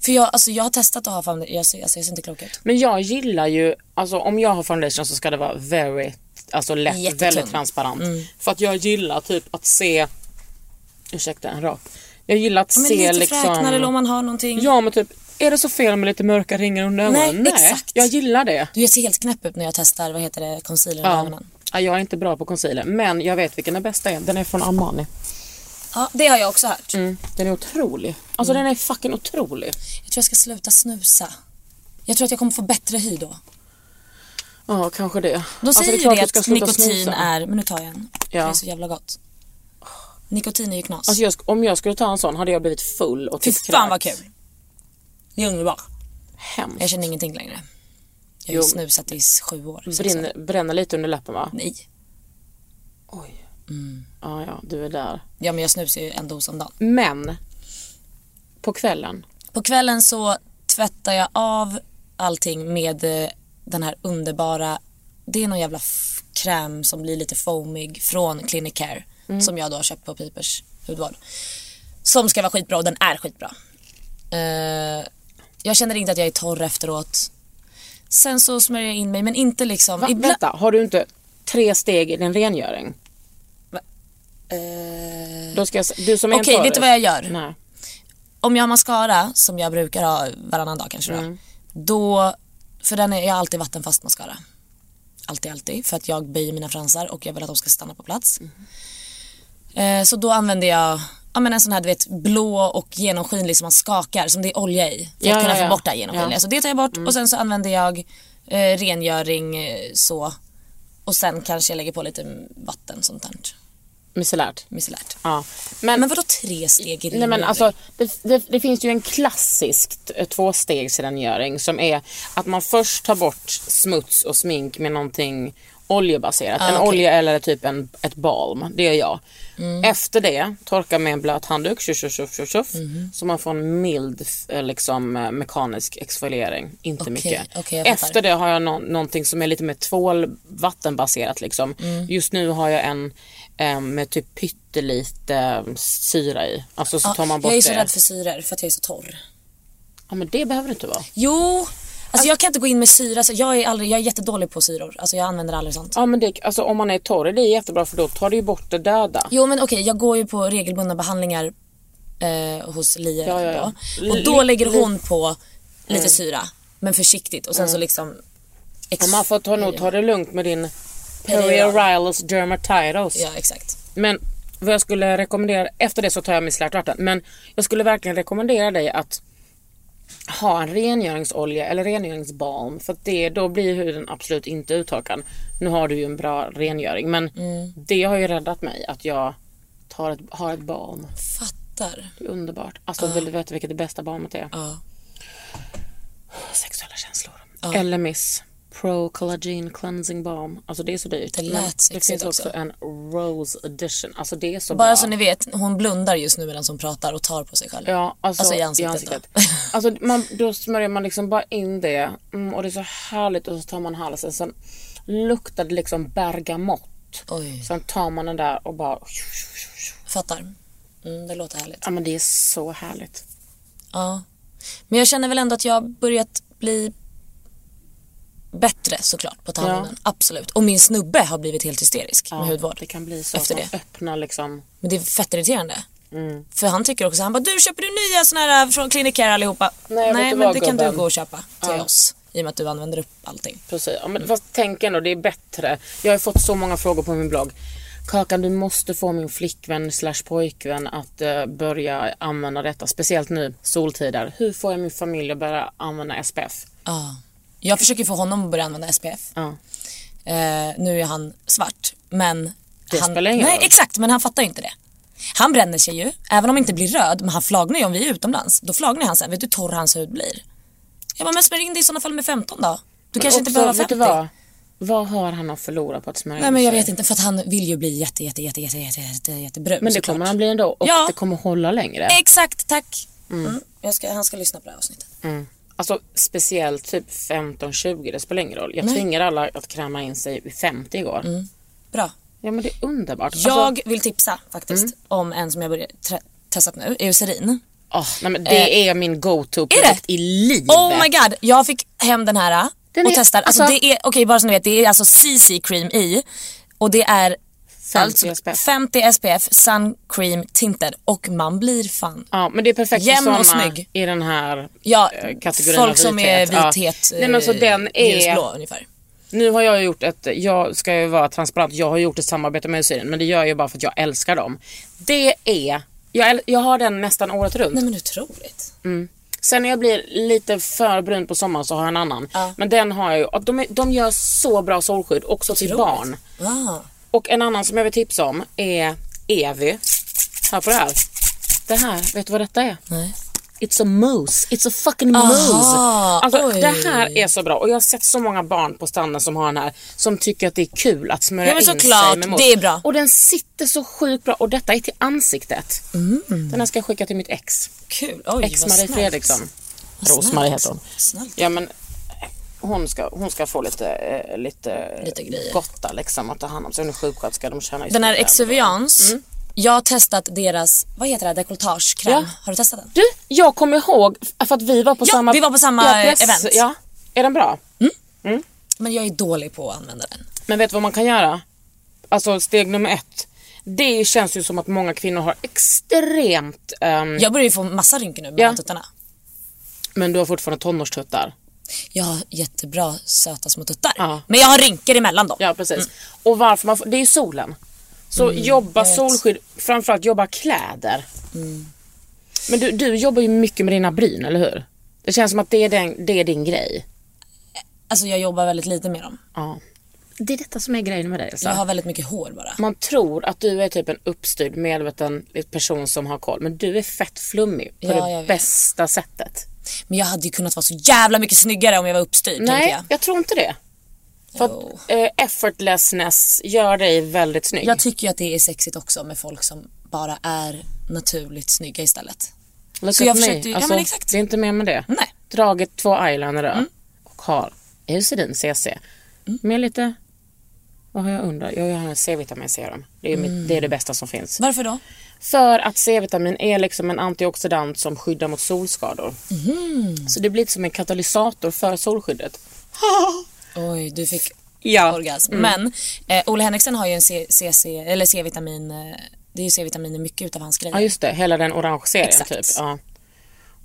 [SPEAKER 4] För jag, alltså, jag har testat att ha foundation, jag ser, alltså, jag ser inte klok ut.
[SPEAKER 2] Men jag gillar ju, alltså om jag har foundation så ska det vara very alltså lätt,
[SPEAKER 4] Jättetunn.
[SPEAKER 2] väldigt transparent.
[SPEAKER 4] Mm.
[SPEAKER 2] För att jag gillar typ att se, ursäkta en rak. Jag gillar att
[SPEAKER 4] Ja, men
[SPEAKER 2] se
[SPEAKER 4] lite
[SPEAKER 2] liksom...
[SPEAKER 4] fräknar eller om man har någonting.
[SPEAKER 2] Ja men typ, är det så fel med lite mörka ringar under
[SPEAKER 4] Nej,
[SPEAKER 2] ögonen? Nej,
[SPEAKER 4] exakt.
[SPEAKER 2] jag gillar det.
[SPEAKER 4] Du, jag ser helt knäpp ut när jag testar, vad heter det, concealer under
[SPEAKER 2] Ja.
[SPEAKER 4] ögonen.
[SPEAKER 2] Ja, jag är inte bra på concealer men jag vet vilken den bästa är. Den är från Armani.
[SPEAKER 4] Ja, det har jag också hört.
[SPEAKER 2] Den är otrolig. Alltså
[SPEAKER 4] Mm.
[SPEAKER 2] den är fucking otrolig.
[SPEAKER 4] Jag tror jag ska sluta snusa. Jag tror att jag kommer få bättre hy då.
[SPEAKER 2] Ja kanske det. Alltså,
[SPEAKER 4] De säger
[SPEAKER 2] det är
[SPEAKER 4] ju
[SPEAKER 2] klart
[SPEAKER 4] det
[SPEAKER 2] du ska
[SPEAKER 4] att
[SPEAKER 2] sluta
[SPEAKER 4] nikotin
[SPEAKER 2] snusa.
[SPEAKER 4] är, men nu tar jag en.
[SPEAKER 2] Ja.
[SPEAKER 4] Det är så jävla gott. Nikotin är ju knas.
[SPEAKER 2] Alltså jag, sk- om jag skulle ta en sån hade jag blivit full och
[SPEAKER 4] Fy
[SPEAKER 2] typ
[SPEAKER 4] fan vad
[SPEAKER 2] kräkts.
[SPEAKER 4] kul. Det är underbart.
[SPEAKER 2] Hemskt.
[SPEAKER 4] Jag känner ingenting längre. Jag
[SPEAKER 2] Jo.
[SPEAKER 4] har ju snusat i sju år. sex år.
[SPEAKER 2] Brinner, bränner lite under läppen va?
[SPEAKER 4] Nej.
[SPEAKER 2] Oj.
[SPEAKER 4] Mm.
[SPEAKER 2] Ja, ja, du är där.
[SPEAKER 4] Ja men jag snusar ju en dos om dagen.
[SPEAKER 2] Men på kvällen.
[SPEAKER 4] På kvällen så tvättar jag av allting med eh, den här underbara, det är någon jävla f- kräm som blir lite foamig från Clinicare som jag då har köpt på Pipers hudvård. Som ska vara skitbra och den är skitbra. Eh, jag känner inte att jag är torr efteråt. Sen så smörjer jag in mig men inte liksom...
[SPEAKER 2] Va,
[SPEAKER 4] ibland-
[SPEAKER 2] Vänta, har du inte tre steg i din rengöring?
[SPEAKER 4] Eh,
[SPEAKER 2] Då ska jag, s- du som är en
[SPEAKER 4] Okej, vet
[SPEAKER 2] torris.
[SPEAKER 4] du vad jag gör?
[SPEAKER 2] Nej.
[SPEAKER 4] om jag har mascara som jag brukar ha varannan dag kanske då.
[SPEAKER 2] Mm.
[SPEAKER 4] Då, för den är, jag har alltid vattenfast mascara. Alltid, alltid. För att jag böjer mina fransar och jag vill att de ska stanna på plats.
[SPEAKER 2] Mm.
[SPEAKER 4] Eh, så då använder jag ja, men en sån här du vet, blå och genomskinlig som man skakar, som det är olja i. För
[SPEAKER 2] Ja,
[SPEAKER 4] att kunna
[SPEAKER 2] ja, ja.
[SPEAKER 4] få bort det här genomskinliga.
[SPEAKER 2] Ja. Mm.
[SPEAKER 4] Så det tar jag bort och sen så använder jag eh, rengöring eh, så. Och sen kanske jag lägger på lite vatten, sånt där
[SPEAKER 2] Micellärt.
[SPEAKER 4] micellärt.
[SPEAKER 2] Ja. Men,
[SPEAKER 4] Men vadå tre steg i
[SPEAKER 2] Nej men
[SPEAKER 4] rengöring?
[SPEAKER 2] alltså, det, det, det finns ju en klassisk eh, tvåstegsrengöring som är att man först tar bort smuts och smink med någonting oljebaserat. en
[SPEAKER 4] Ah, okej. Mm.
[SPEAKER 2] olja eller typ en, ett balm, det gör jag. Efter det, torka med en blöt handduk, tjuff, tjuff, tjuff, tjuff, tjuff,
[SPEAKER 4] Mhm.
[SPEAKER 2] så man får en mild eh, liksom, eh, mekanisk exfoliering. Inte
[SPEAKER 4] Okej,
[SPEAKER 2] mycket.
[SPEAKER 4] okej, jag fattar.
[SPEAKER 2] Efter det har jag nå- någonting som är lite mer tvål, vattenbaserat liksom.
[SPEAKER 4] Mm.
[SPEAKER 2] Just nu har jag en eh, med typ pyttelite eh, syra i. Alltså så tar man bort
[SPEAKER 4] jag är
[SPEAKER 2] det.
[SPEAKER 4] så rädd för syror för att jag är så torr.
[SPEAKER 2] Ja men det behöver det inte vara.
[SPEAKER 4] Jo, alltså, jag kan inte gå in med syra. Så jag, är aldrig, jag är jättedålig på syror. Alltså jag använder aldrig sånt.
[SPEAKER 2] Ja men det, alltså om man är torr är det jättebra för då tar det ju bort det döda.
[SPEAKER 4] Jo men okej, jag går ju på regelbundna behandlingar eh, hos Lia
[SPEAKER 2] Ja, ja, ja.
[SPEAKER 4] då. Och då
[SPEAKER 2] Li-
[SPEAKER 4] lägger
[SPEAKER 2] li- Mm.
[SPEAKER 4] hon på lite syra, men försiktigt. Och sen så liksom...
[SPEAKER 2] Och
[SPEAKER 4] Ex-
[SPEAKER 2] man får ta, nog ta det lugnt med din
[SPEAKER 4] Period.
[SPEAKER 2] perioralus dermatitis.
[SPEAKER 4] Ja, exakt.
[SPEAKER 2] Men vad jag skulle rekommendera, efter det så tar jag micellärt vatten, men jag skulle verkligen rekommendera dig att ha en rengöringsolja eller rengöringsbalm för att det, då blir huden absolut inte uttorkad. Nu har du ju en bra rengöring men det har ju räddat mig att jag tar ett, har ett balm.
[SPEAKER 4] Fattar.
[SPEAKER 2] Det är underbart. Alltså vill du veta vilket det bästa balmet är?
[SPEAKER 4] Ja.
[SPEAKER 2] Sexuella känslor. Eller Miss Pro Collagen Cleansing Balm. Alltså det är så dyrt.
[SPEAKER 4] Det lät
[SPEAKER 2] Men det
[SPEAKER 4] sexigt
[SPEAKER 2] finns också
[SPEAKER 4] också.
[SPEAKER 2] en Rose Edition. Alltså det är så
[SPEAKER 4] Bara
[SPEAKER 2] bra.
[SPEAKER 4] så ni vet, hon blundar just nu medan hon pratar och tar på sig själv.
[SPEAKER 2] Ja, alltså,
[SPEAKER 4] Alltså i ansiktet då.
[SPEAKER 2] Alltså, man, då smörjer man liksom bara in det mm, och det är så härligt och så tar man halsen. Sen luktar det liksom bergamott.
[SPEAKER 4] Oj.
[SPEAKER 2] Sen tar man den där och bara...
[SPEAKER 4] Fattar. Mm, det låter härligt.
[SPEAKER 2] Ja men det är så härligt.
[SPEAKER 4] Ja. Men jag känner väl ändå att jag har börjat bli bättre såklart på tandhuden. Absolut. Och min snubbe har blivit helt hysterisk med hudvård.
[SPEAKER 2] Det kan bli så
[SPEAKER 4] efter
[SPEAKER 2] att
[SPEAKER 4] det.
[SPEAKER 2] man öppnar liksom...
[SPEAKER 4] Men det är fett irriterande.
[SPEAKER 2] Mm.
[SPEAKER 4] För han tycker också, han bara du köper du nya såna här äh, från Clinicare allihopa?
[SPEAKER 2] Nej, vet du
[SPEAKER 4] men
[SPEAKER 2] vad,
[SPEAKER 4] det kan
[SPEAKER 2] gubben?
[SPEAKER 4] du gå och köpa till oss. I och med att du använder upp allting.
[SPEAKER 2] Precis. Ja, men fast tänk ändå, det är bättre. Jag har fått så många frågor på min blogg. Kakan, du måste få min flickvän slash pojkvän att eh, börja använda detta. Speciellt nu, soltider. Hur får jag min familj att börja använda SPF?
[SPEAKER 4] Ja. Jag försöker få honom att börja använda SPF.
[SPEAKER 2] Ja.
[SPEAKER 4] Eh, nu är han svart, men...
[SPEAKER 2] Det
[SPEAKER 4] han,
[SPEAKER 2] spelar ingen
[SPEAKER 4] Nej,
[SPEAKER 2] roll.
[SPEAKER 4] exakt, men han fattar ju inte det. Han bränner sig ju, även om han inte blir röd, men han flagnar ju om vi är utomlands. Då flagnar han sen, vet du hur torr hans hud blir? Jag bara, men smörj in dig i sådana fall med 15 då. Du kanske inte
[SPEAKER 2] Också,
[SPEAKER 4] behöver
[SPEAKER 2] vet du
[SPEAKER 4] 50.
[SPEAKER 2] vad? Vad har han att förlora på att smörja
[SPEAKER 4] Nej
[SPEAKER 2] in
[SPEAKER 4] men jag
[SPEAKER 2] sig?
[SPEAKER 4] vet inte, för att han vill ju bli jätte, jätte, jätte, jätte, jätte, jätte, jättebrun
[SPEAKER 2] Men det
[SPEAKER 4] såklart.
[SPEAKER 2] kommer han bli ändå och
[SPEAKER 4] Ja.
[SPEAKER 2] det kommer hålla längre.
[SPEAKER 4] Exakt, tack. Mm. Jag ska, han ska lyssna på det här avsnittet.
[SPEAKER 2] Mm. Alltså speciellt typ 15-20, det spelar ingen roll. Jag tvingar alla att kräma in sig vid 50 igår.
[SPEAKER 4] Mm. Bra.
[SPEAKER 2] Ja men det är underbart. Alltså,
[SPEAKER 4] Jag vill tipsa faktiskt
[SPEAKER 2] Mm.
[SPEAKER 4] om en som jag börjat tre- testat nu, Eucerin. Eh,
[SPEAKER 2] Åh, nej, men det är min go-to-produkt i livet.
[SPEAKER 4] Oh my god, jag fick hem den här
[SPEAKER 2] Den
[SPEAKER 4] och
[SPEAKER 2] är-
[SPEAKER 4] testar. Alltså,
[SPEAKER 2] alltså-
[SPEAKER 4] det är, okej bara så ni vet, det är alltså CC cream i och det är alltså
[SPEAKER 2] 50 SPF.
[SPEAKER 4] 50 SPF sun cream tinted och man blir fan.
[SPEAKER 2] Ja, men det är perfekt
[SPEAKER 4] Jämn
[SPEAKER 2] för
[SPEAKER 4] och
[SPEAKER 2] såna
[SPEAKER 4] snygg.
[SPEAKER 2] i den här
[SPEAKER 4] Ja,
[SPEAKER 2] eh, kategorin
[SPEAKER 4] folk
[SPEAKER 2] av
[SPEAKER 4] som är
[SPEAKER 2] vithet.
[SPEAKER 4] vithet,
[SPEAKER 2] Ja. Nej, men alltså,
[SPEAKER 4] eh,
[SPEAKER 2] den är...
[SPEAKER 4] ljusblå ungefär.
[SPEAKER 2] Nu har jag gjort ett, jag ska ju vara transparent, jag har gjort ett samarbete med Syrien men det gör jag bara för att jag älskar dem. Det är, jag, äl- jag har den nästan året runt.
[SPEAKER 4] Nej men otroligt.
[SPEAKER 2] Sen när jag blir lite för brun på sommaren så har jag en annan. Men den har jag ju, och de, är- de gör så bra solskydd också till barn.
[SPEAKER 4] Wow.
[SPEAKER 2] Och en annan som jag vill tipsa om är Evy. Här på det här. Det här, vet du vad detta är?
[SPEAKER 4] Nej.
[SPEAKER 2] It's a mousse. It's a fucking mousse. Alltså,
[SPEAKER 4] oj.
[SPEAKER 2] det här är så bra och jag har sett så många barn på stranden som har den här som tycker att det är kul att smörja
[SPEAKER 4] Ja, men
[SPEAKER 2] in
[SPEAKER 4] såklart.
[SPEAKER 2] sig med mousse.
[SPEAKER 4] Det är bra.
[SPEAKER 2] Och den sitter så sjukt bra och detta är till ansiktet. Den här ska jag skicka till mitt ex.
[SPEAKER 4] Mm. Kul, oj vad
[SPEAKER 2] Ex-Marie
[SPEAKER 4] snällt.
[SPEAKER 2] Fredriksson.
[SPEAKER 4] Vad
[SPEAKER 2] Rosmarie
[SPEAKER 4] snällt.
[SPEAKER 2] heter hon.
[SPEAKER 4] Snällt.
[SPEAKER 2] Ja men hon ska, hon ska få lite, eh, lite,
[SPEAKER 4] Lite grejer.
[SPEAKER 2] gotta liksom att ta hand om sig. Hon är sjuksköterska, de tjänar ju
[SPEAKER 4] Den
[SPEAKER 2] så
[SPEAKER 4] här
[SPEAKER 2] jävla bra.
[SPEAKER 4] Exuvians,
[SPEAKER 2] Mm.
[SPEAKER 4] jag har testat deras, vad heter det, dekolletagekräm.
[SPEAKER 2] Ja.
[SPEAKER 4] Har du testat den?
[SPEAKER 2] Du, jag kommer ihåg f- för att vi var på
[SPEAKER 4] Ja,
[SPEAKER 2] samma...
[SPEAKER 4] vi var på samma event.
[SPEAKER 2] Ja, är den bra?
[SPEAKER 4] Men jag är dålig på att använda den.
[SPEAKER 2] Men vet du vad man kan göra? Alltså steg nummer ett. Det känns ju som att många kvinnor har extremt... ehm,
[SPEAKER 4] Jag börjar ju få massa rynkor nu
[SPEAKER 2] Ja.
[SPEAKER 4] mellan tuttarna.
[SPEAKER 2] Men du har fortfarande tonårstuttar.
[SPEAKER 4] Jag har jättebra söta små tuttar.
[SPEAKER 2] Ja.
[SPEAKER 4] Men jag har rynkor emellan dem. Mm.
[SPEAKER 2] Ja, precis. Och varför man får, Det är ju solen. Så jobba solskydd, framförallt jobba kläder.
[SPEAKER 4] Mm.
[SPEAKER 2] Men du, du jobbar ju mycket med dina bryn, eller hur? Det känns som att det är, den, det är din grej.
[SPEAKER 4] Alltså jag jobbar väldigt lite med dem.
[SPEAKER 2] Ja. Det är detta som är grejen med dig, Elsa.
[SPEAKER 4] Jag har väldigt mycket hår bara.
[SPEAKER 2] Man tror att du är typ en uppstyrd, medveten person som har koll. Men du är fett flummig på
[SPEAKER 4] Ja, jag
[SPEAKER 2] det
[SPEAKER 4] vet.
[SPEAKER 2] bästa sättet.
[SPEAKER 4] Men jag hade ju kunnat vara så jävla mycket snyggare om jag var uppstyrd tänker
[SPEAKER 2] Nej,
[SPEAKER 4] jag.
[SPEAKER 2] jag tror inte det. För
[SPEAKER 4] Jo.
[SPEAKER 2] att eh, effortlessness gör dig väldigt snygg.
[SPEAKER 4] Jag tycker ju att det är sexigt också med folk som bara är naturligt snygga istället.
[SPEAKER 2] Look
[SPEAKER 4] så
[SPEAKER 2] at
[SPEAKER 4] jag
[SPEAKER 2] me.
[SPEAKER 4] försökte ju- ja,
[SPEAKER 2] Alltså,
[SPEAKER 4] men exakt.
[SPEAKER 2] Det är inte mer med det.
[SPEAKER 4] Nej. Mm.
[SPEAKER 2] Dragit två eyeliner och har Eucerin CC. Med lite, vad har jag undrat? Jag har en C-vitamin serum. Det är, ju
[SPEAKER 4] Mm.
[SPEAKER 2] mitt, det är det bästa som finns.
[SPEAKER 4] Varför då?
[SPEAKER 2] För att C-vitamin är liksom en antioxidant som skyddar mot solskador. Så det blir lite som en katalysator för solskyddet.
[SPEAKER 4] Oj, du fick
[SPEAKER 2] Ja.
[SPEAKER 4] orgasm. Men eh, Ole Henriksen har ju en C- CC, eller C-vitamin, eh, det är ju C-vitamin i mycket utav hans grejer.
[SPEAKER 2] Ja just det, hela den orange serien
[SPEAKER 4] Exakt.
[SPEAKER 2] typ. Ja.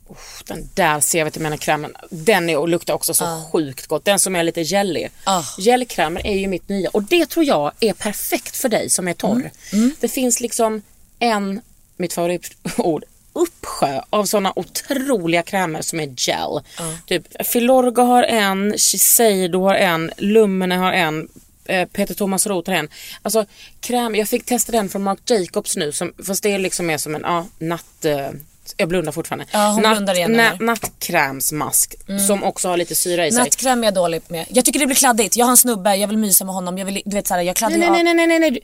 [SPEAKER 2] Uff, den där C-vitaminkrämen, den är, och luktar också så sjukt gott. Den som är lite jelly.
[SPEAKER 4] Ah.
[SPEAKER 2] Gelkrämer är ju mitt nya och det tror jag är perfekt för dig som är torr. Det finns liksom en, mitt favoritord, uppsjö av sådana otroliga krämer som är gel. Typ, Filorga har en, Shiseido har en, Lumene har en, eh, Peter Thomas Roth har en. Alltså kräm, jag fick testa den från Marc Jacobs nu, som, fast det liksom är som en ja, natt... Eh, jag blundar fortfarande.
[SPEAKER 4] Ja, hon blundar igen
[SPEAKER 2] nä,
[SPEAKER 4] här.
[SPEAKER 2] nattkrämsmask
[SPEAKER 3] Mm.
[SPEAKER 2] som också har lite syra i sig.
[SPEAKER 4] Nattkräm är Alltså, jag dålig med. Jag tycker det blir kladdigt. Jag har en snubbe, jag vill mysa med honom. Jag vill, du vet såhär, jag kladdar
[SPEAKER 2] Nej,
[SPEAKER 4] ju
[SPEAKER 2] nej,
[SPEAKER 4] av.
[SPEAKER 2] nej, nej, nej, nej, nej.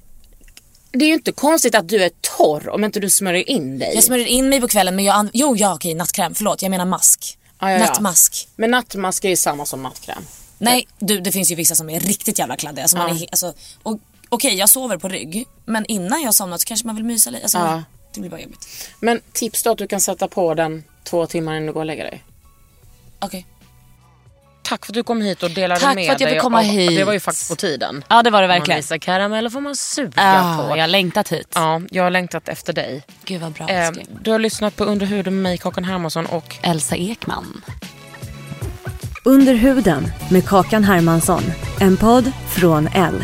[SPEAKER 2] du- Det är ju inte konstigt att du är torr om inte du smörjer in dig.
[SPEAKER 4] Jag smörjer in mig på kvällen men jag an- Jo ja okej, nattkräm. Förlåt, jag menar mask.
[SPEAKER 2] Ja, ja, ja.
[SPEAKER 4] Nattmask.
[SPEAKER 2] Men nattmask är ju samma som nattkräm.
[SPEAKER 4] Nej, du det finns ju vissa som är riktigt jävla kladdiga. Alltså, man är, he- alltså, och, okej, jag sover på rygg. Men innan jag somnat så kanske man vill mysa lite. Alltså,
[SPEAKER 2] Ja.
[SPEAKER 4] Det blir bara jobbigt.
[SPEAKER 2] Men tips då att du kan sätta på den två timmar innan du går och lägger dig.
[SPEAKER 4] Okej.
[SPEAKER 2] Tack för att du kom hit och delade
[SPEAKER 3] Tack
[SPEAKER 2] med
[SPEAKER 3] för att jag
[SPEAKER 2] dig.
[SPEAKER 3] fick komma
[SPEAKER 2] av-
[SPEAKER 3] hit.
[SPEAKER 2] Det var ju faktiskt på tiden.
[SPEAKER 3] Ja, det var det
[SPEAKER 2] Man
[SPEAKER 3] verkligen.
[SPEAKER 2] visar karameller får man suga
[SPEAKER 3] Ah,
[SPEAKER 2] på.
[SPEAKER 3] jag har längtat hit.
[SPEAKER 2] Ja, jag har längtat efter dig.
[SPEAKER 3] Gud vad bra.
[SPEAKER 2] Eh,
[SPEAKER 3] älskling.
[SPEAKER 2] du har lyssnat på Under huden med mig, Kakan Hermansson och
[SPEAKER 3] Elsa Ekman.
[SPEAKER 5] Under huden med Kakan Hermansson. En podd från L.